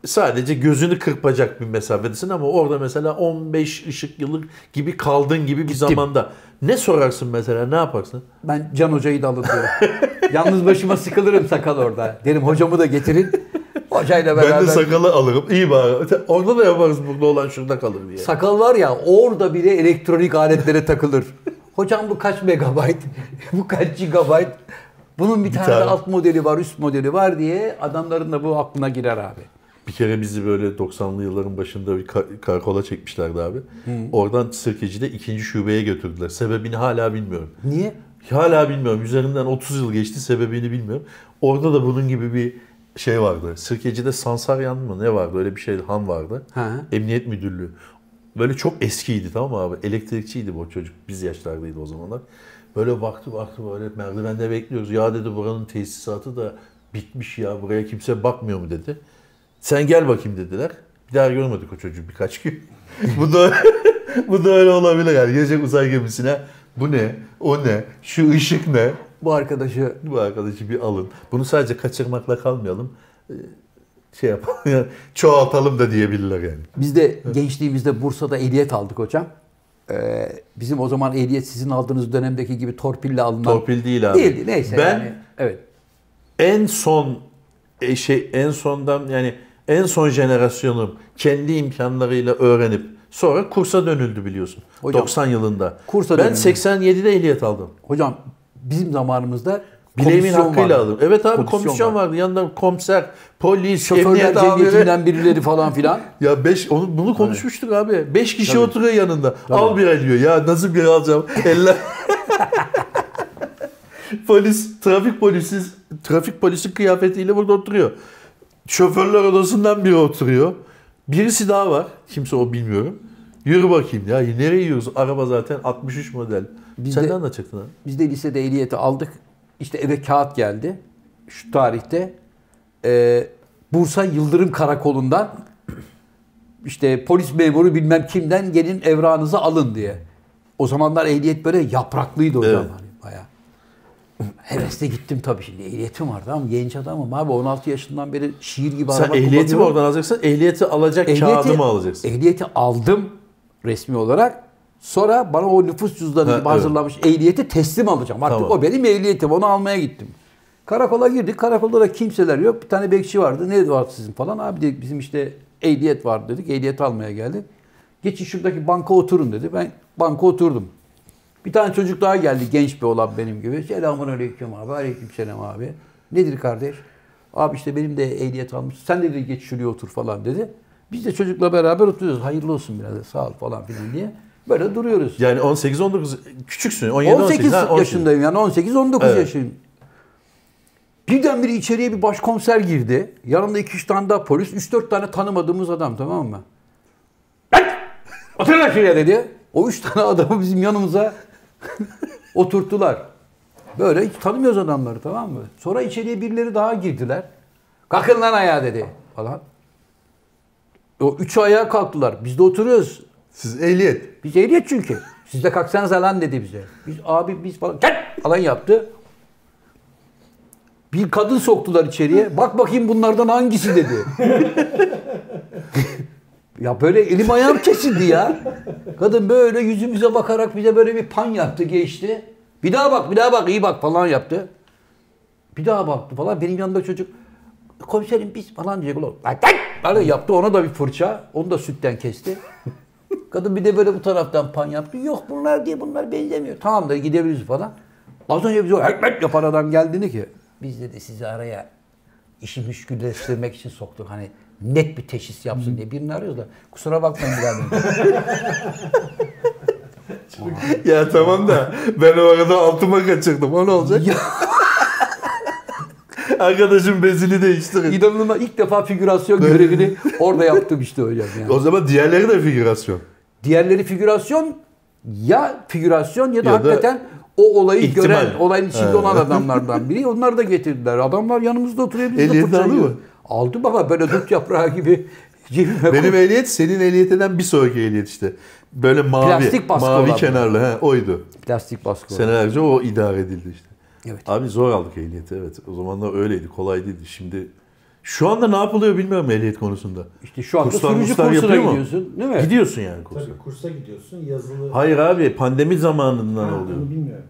B: sadece gözünü kırpacak bir mesafedesin ama orada mesela 15 ışık yılı gibi kaldığın gibi bir zamanda ne sorarsın mesela ne yaparsın?
A: Ben Can Hoca'yı da alın diyorum. Yalnız başıma sıkılırım sakal orada. Derim hocamı da getirin. Hocayla beraber.
B: Ben de sakalı alırım. İyi bari. Orada da yaparız burada olan şurada kalır diye.
A: Sakal var ya orada bile elektronik aletlere takılır. Hocam bu kaç megabayt? bu kaç gigabayt? Bunun bir, tane,
B: tane.
A: de alt modeli var, üst modeli var diye adamların da bu aklına girer abi.
B: Bir kere bizi böyle 90'lı yılların başında bir ka- karakola çekmişlerdi abi. Oradan Sirkeci'de ikinci şubeye götürdüler. Sebebini hala bilmiyorum.
A: Niye?
B: Hala bilmiyorum. Üzerinden 30 yıl geçti sebebini bilmiyorum. Orada da bunun gibi bir şey vardı. Sirkeci'de Sansaryan mı ne vardı? Öyle bir şey han vardı.
A: Ha.
B: Emniyet Müdürlüğü. Böyle çok eskiydi tamam mı abi? Elektrikçiydi bu çocuk. Biz yaşlardaydı o zamanlar. Böyle baktı baktı böyle merdivende bekliyoruz. Ya dedi buranın tesisatı da bitmiş ya. Buraya kimse bakmıyor mu dedi. Sen gel bakayım dediler. Bir daha görmedik o çocuğu birkaç gün. bu da bu da öyle olabilir yani. Gelecek uzay gemisine bu ne? O ne? Şu ışık ne?
A: Bu arkadaşı
B: Bu arkadaşı bir alın. Bunu sadece kaçırmakla kalmayalım. Ee, Şey yapalım. Çoğaltalım da diyebilirler yani.
A: Biz de gençliğimizde Bursa'da ehliyet aldık hocam. Ee, bizim o zaman ehliyet sizin aldığınız dönemdeki gibi torpille alınan...
B: Torpil değil abi.
A: Değildi neyse
B: Ben
A: yani. Evet.
B: en son e, şey en sondan yani en son jenerasyonum kendi imkanlarıyla öğrenip sonra kursa dönüldü biliyorsun.
A: Hocam,
B: 90 yılında.
A: kursa
B: ben
A: dönüldü.
B: 87'de ehliyet aldım.
A: Hocam bizim zamanımızda
B: Bileğimin
A: komisyon
B: hakkıyla
A: vardı.
B: aldım. Evet abi komisyon,
A: Komisyon
B: vardı. Yanında komiser, polis,
A: Şoförler
B: emniyet amiri.
A: cemiyetinden birileri falan filan.
B: Ya beş, onu, bunu konuşmuştuk abi. 5 kişi oturuyor yanında. Al bira diyor. Ya nasıl bira alacağım? Eller... Polis, trafik polisi, trafik polisi kıyafetiyle burada oturuyor. Şoförler odasından biri oturuyor. Birisi daha var. Kimse o bilmiyorum. Yürü bakayım ya. Nereye yürüyoruz? Araba zaten 63 model.
A: Biz
B: Sen
A: de-
B: ne anlatacaktın abi?
A: Biz de lisede ehliyeti aldık. İşte eve kağıt geldi. Şu tarihte e, Bursa Yıldırım Karakolu'ndan işte polis memuru bilmem kimden gelin evrağınızı alın diye. O zamanlar ehliyet böyle yapraklıydı hocam.
B: Evet.
A: Hani bayağı. Hevesle gittim tabii şimdi. Ehliyetim vardı ama genç adamım abi. 16 yaşından beri şiir gibi
B: Sen
A: araba
B: ehliyeti mi
A: kullanıyorum.
B: oradan alacaksın? Ehliyeti E- alacak kağıdı mı alacaksın?
A: Ehliyeti aldım resmi olarak. Sonra bana o nüfus cüzdanı
B: Ha,
A: gibi
B: evet.
A: hazırlamış ehliyeti teslim alacağım. Artık
B: Tamam.
A: o benim ehliyetim. Onu almaya gittim. Karakola girdik. Karakolda da kimseler yok. Bir tane bekçi vardı. Ne var sizin falan. Abi dedik bizim işte ehliyet var dedik. Ehliyet almaya geldik. Geçin şuradaki banka oturun dedi. Ben banka oturdum. Bir tane çocuk daha geldi genç bir olan benim gibi. Selamun aleyküm abi. Aleyküm selam abi. Nedir kardeş? Abi işte benim de ehliyet almış. Sen de dedi geç şuraya otur falan dedi. Biz de çocukla beraber oturuyoruz. Hayırlı olsun birader sağ ol falan filan diye. Böyle duruyoruz.
B: Yani 18-19 küçüksün. 17-18
A: 18
B: ha, 18.
A: yaşındayım yani 18 19
B: Evet.
A: yaşındayım. Birdenbire içeriye bir başkomiser girdi. Yanımda iki üç tane daha polis, 3-4 tane tanımadığımız adam tamam mı?
D: Oturun lan şuraya dedi.
A: dedi. O üç tane adamı bizim yanımıza oturttular. Böyle hiç tanımıyoruz adamları tamam mı? Sonra içeriye birileri daha girdiler. Kalkın lan ayağa dedi falan. O üç ayağa kalktılar. Biz de oturuyoruz.
B: Siz ehliyet.
A: Biz ehliyet çünkü. Siz de kalksanız lan dedi bize. Biz abi biz falan gel falan yaptı. Bir kadın soktular içeriye. Bak bakayım bunlardan hangisi dedi. ya böyle elim ayağım kesildi ya. Kadın böyle yüzümüze bakarak bize böyle bir pan yaptı geçti. Bir daha bak bir daha bak iyi bak falan yaptı. Bir daha baktı falan. Benim yanımda çocuk komiserim biz falan diyecek. Ulan, lan gel! Böyle yaptı ona da bir fırça. Onu da sütten kesti. Kadın bir de böyle bu taraftan pan yaptı. Yok bunlar diye bunlar benzemiyor. Tamam da gidebiliriz falan. Az önce bize o ekmek yapan adam geldiğini ki. Biz dedi sizi araya işi müşkülleştirmek için soktuk. Hani net bir teşhis yapsın diye birini arıyoruz da kusura bakmayın birader.
B: Ya tamam da ben o arada altıma kaçırdım. O ne olacak?
A: Ya.
B: Arkadaşım bezini değiştirin.
A: İnanılmaz ilk defa figürasyon görevini orada yaptım işte hocam yani.
B: O zaman diğerleri de figürasyon.
A: Diğerleri figürasyon ya figürasyon ya da
B: Ya da
A: hakikaten o olayı
B: ihtimal.
A: gören, olayın içinde
B: He.
A: olan adamlardan biri. Onlar da getirdiler. Adamlar yanımızda oturuyor. Biz de
B: Ehliyet
A: fırça
B: aldı mı?
A: yiyoruz. Aldı baba böyle dut yaprağı gibi cebime
B: Benim
A: koydu.
B: ehliyet senin ehliyetinden bir sonraki ehliyet işte. Böyle mavi,
A: Plastik baskı
B: mavi
A: olan.
B: kenarlı. He, oydu.
A: Plastik baskı.
B: Senelerce o idare edildi işte.
A: Evet.
B: Abi zor aldık ehliyeti evet. O zamanlar öyleydi, kolay değildi. Şimdi şu anda ne yapılıyor bilmiyorum ehliyet konusunda.
A: İşte şu anda
B: Kurslar,
A: sürücü
B: murslar
A: kursuna
B: yapıyor mu?
A: gidiyorsun değil mi?
B: Gidiyorsun yani kursa.
C: Tabii kursa gidiyorsun yazılı.
B: Hayır abi pandemi zamanından
C: Ha,
B: oluyor.
C: onu Bilmiyorum.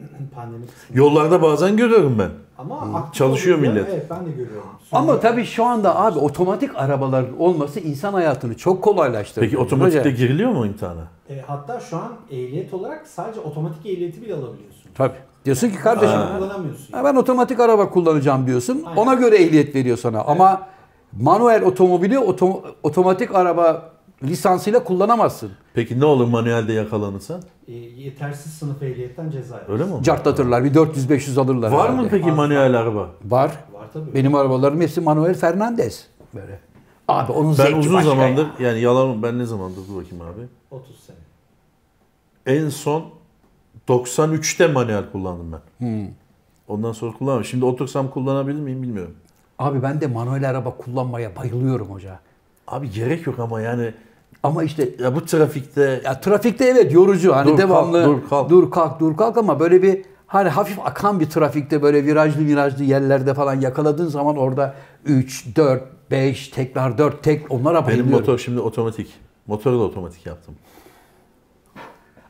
C: pandemi kısmı.
B: Yollarda bazen görüyorum ben.
C: Ama aktif
B: Çalışıyor
C: olduğunda-
B: millet.
C: Evet ben de görüyorum.
A: Ama tabii şu anda abi otomatik arabaların olması insan hayatını çok kolaylaştırdı.
B: Peki otomatikte
A: Hocam,
B: giriliyor mu imtihana?
C: E, hatta şu an ehliyet olarak sadece otomatik ehliyeti bile alabiliyorsun.
A: Tabii. Diyorsun ki kardeşim
C: Sen kullanamıyorsun.
A: Ha, Ben otomatik araba kullanacağım diyorsun.
C: Aynen.
A: Ona göre ehliyet veriyor sana. Ama manuel otomobili otom- otomatik araba lisansıyla kullanamazsın.
B: Peki ne olur manuelde yakalanırsa?
C: E, yetersiz sınıf ehliyetten ceza yersin.
B: Öyle mi? olur?
A: Cartlatırlar. Bir 400-500 alırlar.
B: Var
A: herhalde.
B: mı peki manuel araba?
A: Var.
C: Var tabii.
A: Benim arabalarım hepsi manuel Fernandez. Böyle. Abi onun
B: Ben
A: zevki
B: uzun
A: başka
B: zamandır
A: ya.
B: yani yalan ben ne zamandır dur bakayım abi.
C: 30 sene.
B: En son 93'te manuel kullandım ben.
A: Hmm.
B: Ondan sonra kullanmadım. Şimdi otursam kullanabilir miyim bilmiyorum.
A: Abi ben de manuel araba kullanmaya bayılıyorum hoca.
B: Abi gerek yok ama yani
A: Ama işte
B: ya bu trafikte
A: ya trafikte evet yorucu hani
B: Dur, kalk,
A: devamlı
B: dur, kalk.
A: dur kalk dur kalk ama böyle bir hani hafif akan bir trafikte böyle virajlı virajlı yerlerde falan yakaladığın zaman orada 3 4 5 tekrar 4 tek onlara
B: benim
A: bayılıyorum.
B: motor şimdi otomatik. Motoru da otomatik yaptım.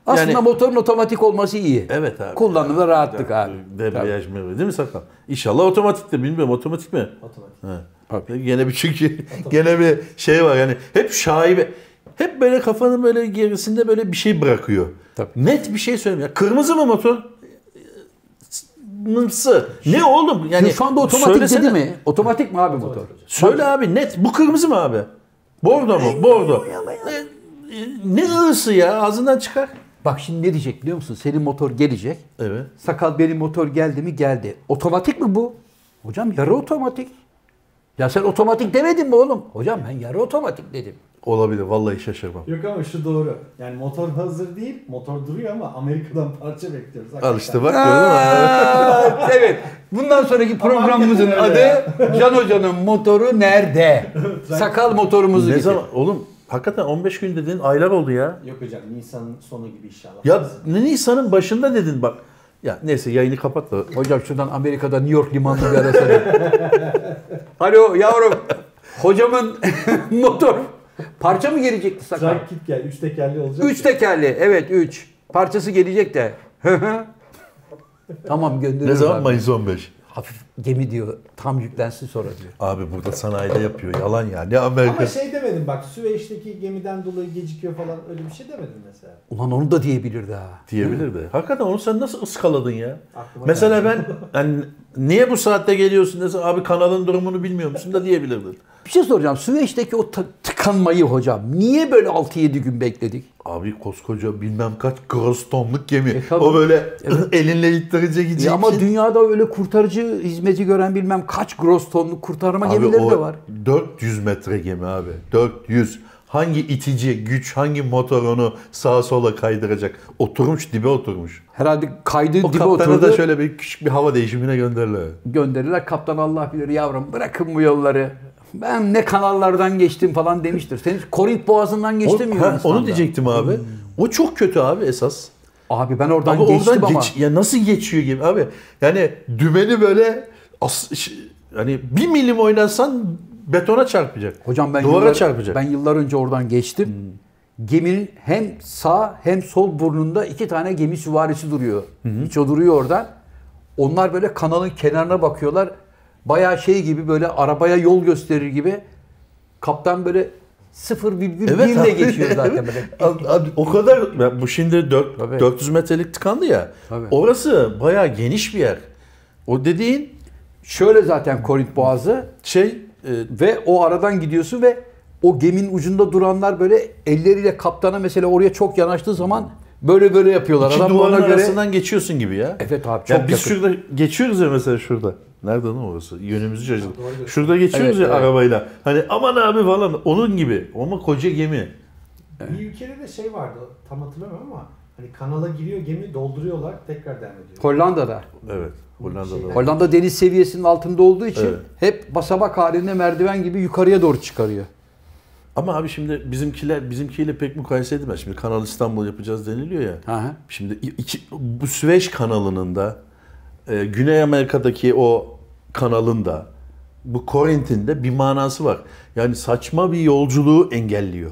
A: Aslında
B: yani-
A: motorun otomatik olması iyi.
B: Evet abi.
A: Kullanımda rahatlık abi.
B: Debriyaj mı? Değil mi sakal? İnşallah otomatiktir. Bilmiyorum otomatik mi?
C: Otomatik.
B: He.
A: Tabii.
B: Gene bir çünkü gene bir şey var yani hep şaibe hep böyle kafanın böyle gerisinde böyle bir şey bırakıyor.
A: Tabii.
B: Net bir şey söylemiyor. Kırmızı mı motor? Mımsı. Ne oğlum? Yani
A: Yani şu anda otomatik
B: söylesene.
A: dedi mi? Otomatik mi abi motor?
B: Söyle abi net. Bu kırmızı mı abi? Bordo mu? Bordo. E, e, Ne ısı ya? Ağzından çıkar.
A: Bak şimdi ne diyecek biliyor musun? Senin motor gelecek.
B: Evet.
A: Sakal benim motor geldi mi geldi. Otomatik mi bu? Hocam yarı otomatik. Ya sen otomatik demedin mi oğlum? Hocam ben yarı otomatik dedim.
B: Olabilir. Vallahi şaşırmam.
C: Yok ama şu doğru. Yani motor hazır değil, motor duruyor ama Amerika'dan parça bekliyoruz.
B: Al
C: hakikaten.
B: işte bak gördün mü?
A: Aa, evet. Bundan sonraki programımızın
C: Hakikaten
A: adı
C: öyle ya.
A: Can Hoca'nın motoru nerede? Sakal motorumuzu
B: Ne
A: getir.
B: zaman? Oğlum hakikaten 15 gün dediğin aylar oldu ya.
C: Yok hocam Nisan'ın sonu gibi inşallah.
B: Ya Nisan'ın başında dedin bak. Ya neyse yayını kapat da.
A: Hocam şuradan Amerika'da New York limanını bir arasana. Alo yavrum. Hocamın motor parça mı gelecekti sakal?
C: Drag kit gel, üç tekerli olacak.
A: Üç tekerli. Evet üç. Parçası gelecek de. tamam gönderiyorum.
B: Ne zaman?
A: abi.
B: Mayıs 15.
A: Hafif gemi diyor. Tam yüklensin sonra diyor.
B: Abi burada sanayide yapıyor. Yalan ya. Ne
C: Ama
B: Amerika.
C: şey demedim bak Süveyş'teki gemiden dolayı gecikiyor falan öyle bir şey demedim mesela.
A: Ulan onu da diyebilirdi ha.
B: diyebilir de. Hakikaten onu sen nasıl ıskaladın ya?
C: Aklıma
B: Mesela ben hani niye bu saatte geliyorsun desen abi kanalın durumunu bilmiyor musun da diyebilirdin.
A: Bir şey soracağım. Süveyş'teki o tı- tıkanmayı hocam niye böyle 6-7 gün bekledik?
B: Abi koskoca bilmem kaç gross tonluk gemi.
A: E, tabii.
B: o böyle elinle ittirince
A: Ya
B: gidecek.
A: E, ama dünyada öyle kurtarıcı hizmeti gören bilmem kaç gross tonluk kurtarma gemileri de var.
B: 400 metre gemi abi. 400. Hangi itici güç, hangi motor onu sağa sola kaydıracak? Oturmuş dibe oturmuş.
A: Herhalde kaydı
B: O
A: dibe
B: kaptana
A: oturdu.
B: da şöyle bir küçük bir hava değişimine gönderilir.
A: Gönderirler kaptan Allah bilir yavrum bırakın bu yolları. Ben ne kanallardan geçtim falan demiştir. Sen hiç Korint Boğazı'ndan
B: O-
A: geçtin mi
B: ha,
A: Yunanistan'da?
B: onu diyecektim abi. O çok kötü abi esas.
A: Abi Hmm. ben oradan
B: Ama
A: geçtim
B: oradan
A: ama.
B: geç, ya nasıl geçiyor gibi abi. Yani dümeni böyle as, ş- hani bir milim oynarsan betona çarpacak.
A: Hocam ben
B: duvara
A: yıllar,
B: çarpacak. Hmm.
A: ben yıllar önce oradan geçtim. Geminin hem sağ hem sol burnunda iki tane gemi süvarisi duruyor. Hiç o duruyor orada. Onlar böyle kanalın kenarına bakıyorlar. Bayağı şey gibi böyle arabaya yol gösterir gibi. Kaptan böyle 0,1
B: Evet
A: ile
B: abi.
A: geçiyor zaten böyle.
B: Abi, abi o kadar ya bu şimdi dört-
A: Tabii.
B: 400 metrelik tıkandı ya.
A: Tabii.
B: Orası bayağı geniş bir yer. O dediğin
A: Şöyle zaten Korint Boğazı
B: şey e,
A: ve o aradan gidiyorsun ve o geminin ucunda duranlar böyle elleriyle kaptana mesela oraya çok yanaştığı zaman böyle böyle yapıyorlar.
B: iki
A: Adam da ona
B: duvarın
A: göre
B: arasından geçiyorsun gibi ya.
A: Evet abi çok
B: Yani biz
A: yakın.
B: şurada geçiyoruz ya mesela şurada. Nerede lan orası? Yönümüzü şaşırdık.
C: Doğru.
B: Şurada geçiyoruz
A: Evet,
B: ya
A: evet.
B: arabayla. Hani aman abi falan onun gibi. Ama koca gemi.
C: Bir ülkede de şey vardı tam hatırlamıyorum ama hani kanala giriyor gemi dolduruyorlar tekrar devam ediyor.
A: Hollanda'da.
B: Evet. Hollanda'da.
C: Şey-
A: Hollanda deniz seviyesinin altında olduğu için
B: Evet.
A: hep basamak halinde merdiven gibi yukarıya doğru çıkarıyor.
B: Ama abi şimdi bizimkiler bizimkiyle pek mukayese edemez. Şimdi Kanal İstanbul yapacağız deniliyor ya.
A: Hı hı.
B: Şimdi i- iki, bu Süveyş kanalının da e, Güney Amerika'daki o kanalın da bu Korint'in de bir manası var. Yani saçma bir yolculuğu engelliyor.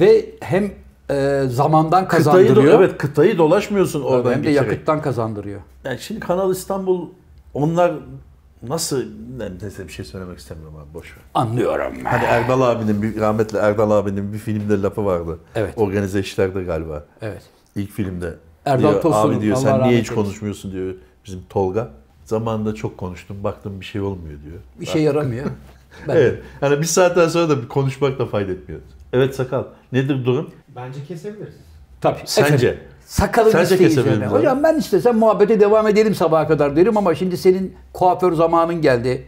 A: Ve hem e, zamandan
B: Kıtayı, do-
A: kazandırıyor.
B: evet, kıtayı dolaşmıyorsun oradan
A: hem de
B: geçerek.
A: yakıttan kazandırıyor.
B: Yani şimdi Kanal İstanbul onlar nasıl ne- neyse bir şey söylemek istemiyorum abi boş ver.
A: Anlıyorum.
B: Hani Erdal abinin bir rahmetli Erdal abinin bir filmde lafı vardı.
A: Evet.
B: Organize işlerde galiba.
A: Evet.
B: İlk filmde.
A: Erdal
B: diyor,
A: Tosun'un,
B: Abi diyor
A: Allah
B: sen
A: rahmet
B: niye hiç
A: eylesin."
B: konuşmuyorsun diyor bizim Tolga. Zamanında çok konuştum baktım bir şey olmuyor diyor.
A: Bir şey yaramıyor. Ben-
B: Evet. Hani bir saatten sonra da bir konuşmak da fayda etmiyor. Evet sakal. Nedir durum?
C: Bence kesebiliriz.
A: Tabii.
B: Sence?
A: Efendim, sakalın
B: Sence
A: isteği
B: kesebilir
A: üzerine.
B: mi?
A: Hocam ben istesem muhabbete devam edelim sabaha kadar derim ama şimdi senin kuaför zamanın geldi.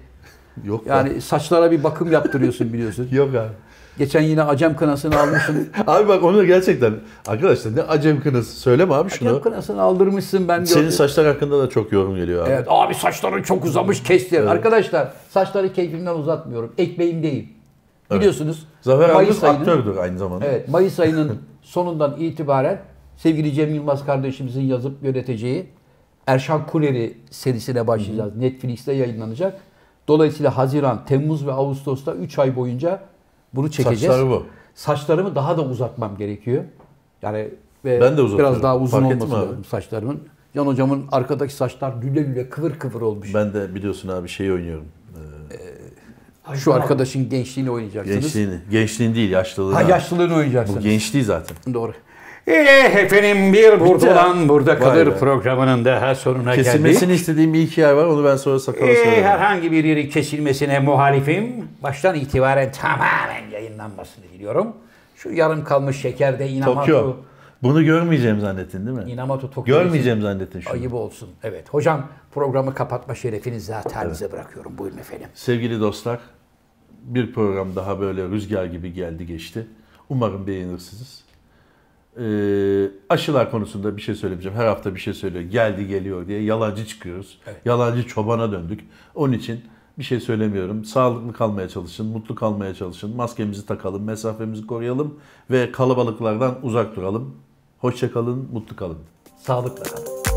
B: Yok yani...
A: Yani saçlara bir bakım yaptırıyorsun biliyorsun.
B: Yok abi.
A: Geçen yine acem kınasını almışsın.
B: Abi bak onu gerçekten arkadaşlar ne acem kınası. Söyleme abi şunu.
A: acem kınasını aldırmışsın ben
B: Senin
A: gördüm.
B: saçlar hakkında da çok yorum geliyor abi.
A: Evet abi saçların çok uzamış kestir. Arkadaşlar saçları keyfimden uzatmıyorum. Ekmeğimdeyim. Biliyorsunuz.
B: Zafer Algöz
A: ayının-
B: aktördür aynı zamanda.
A: Evet, Mayıs ayının sonundan itibaren sevgili Cem Yılmaz kardeşimizin yazıp yöneteceği Erşan Kuneri serisine başlayacağız. Netflix'te yayınlanacak. Dolayısıyla Haziran, Temmuz ve Ağustos'ta 3 ay boyunca bunu çekeceğiz.
B: Saçları bu.
A: Saçlarımı daha da uzatmam gerekiyor. Yani ve
B: Ben de uzatıyorum.
A: biraz daha uzun
B: Fark ettim
A: olması
B: abi.
A: lazım saçlarımın. Can hocamın arkadaki saçlar lüle lüle kıvır kıvır olmuş.
B: Ben de biliyorsun abi şeyi oynuyorum.
A: Şu arkadaşın gençliğini oynayacaksınız.
B: Gençliğini. Gençliğin değil yaşlılığı.
A: Ha
B: abi.
A: yaşlılığını oynayacaksınız.
B: Bu gençliği zaten.
A: Doğru.
D: Eh efendim bir
B: Bitti
D: burada
B: ya.
D: olan burada
B: Vay
D: kalır
B: be.
D: programının daha sonuna geldik.
B: Kesilmesini istediğim bir iki yer var. Onu ben sonra sakala
A: Ee,
D: Eh,
B: söylerim.
D: herhangi bir yeri kesilmesine muhalifim. Baştan itibaren tamamen yayınlanmasını diliyorum. Şu yarım kalmış şekerde
B: Tokyo.
D: Inamatu,
B: Bunu görmeyeceğim zannettin değil mi?
A: Inamatu Tokyo.
B: Görmeyeceğim zannettin şunu.
A: Ayıp olsun. Evet. Hocam programı kapatma şerefini zatenize bırakıyorum. Buyurun efendim.
B: Sevgili dostlar, bir program daha böyle rüzgar gibi geldi geçti. Umarım beğenirsiniz. Ee, aşılar konusunda bir şey söylemeyeceğim. Her hafta bir şey söylüyor. Geldi geliyor diye yalancı çıkıyoruz. Yalancı çobana döndük. Onun için bir şey söylemiyorum. Sağlıklı kalmaya çalışın, mutlu kalmaya çalışın. Maskemizi takalım, mesafemizi koruyalım ve kalabalıklardan uzak duralım. Hoşça kalın, mutlu kalın.
A: Sağlıkla kalın.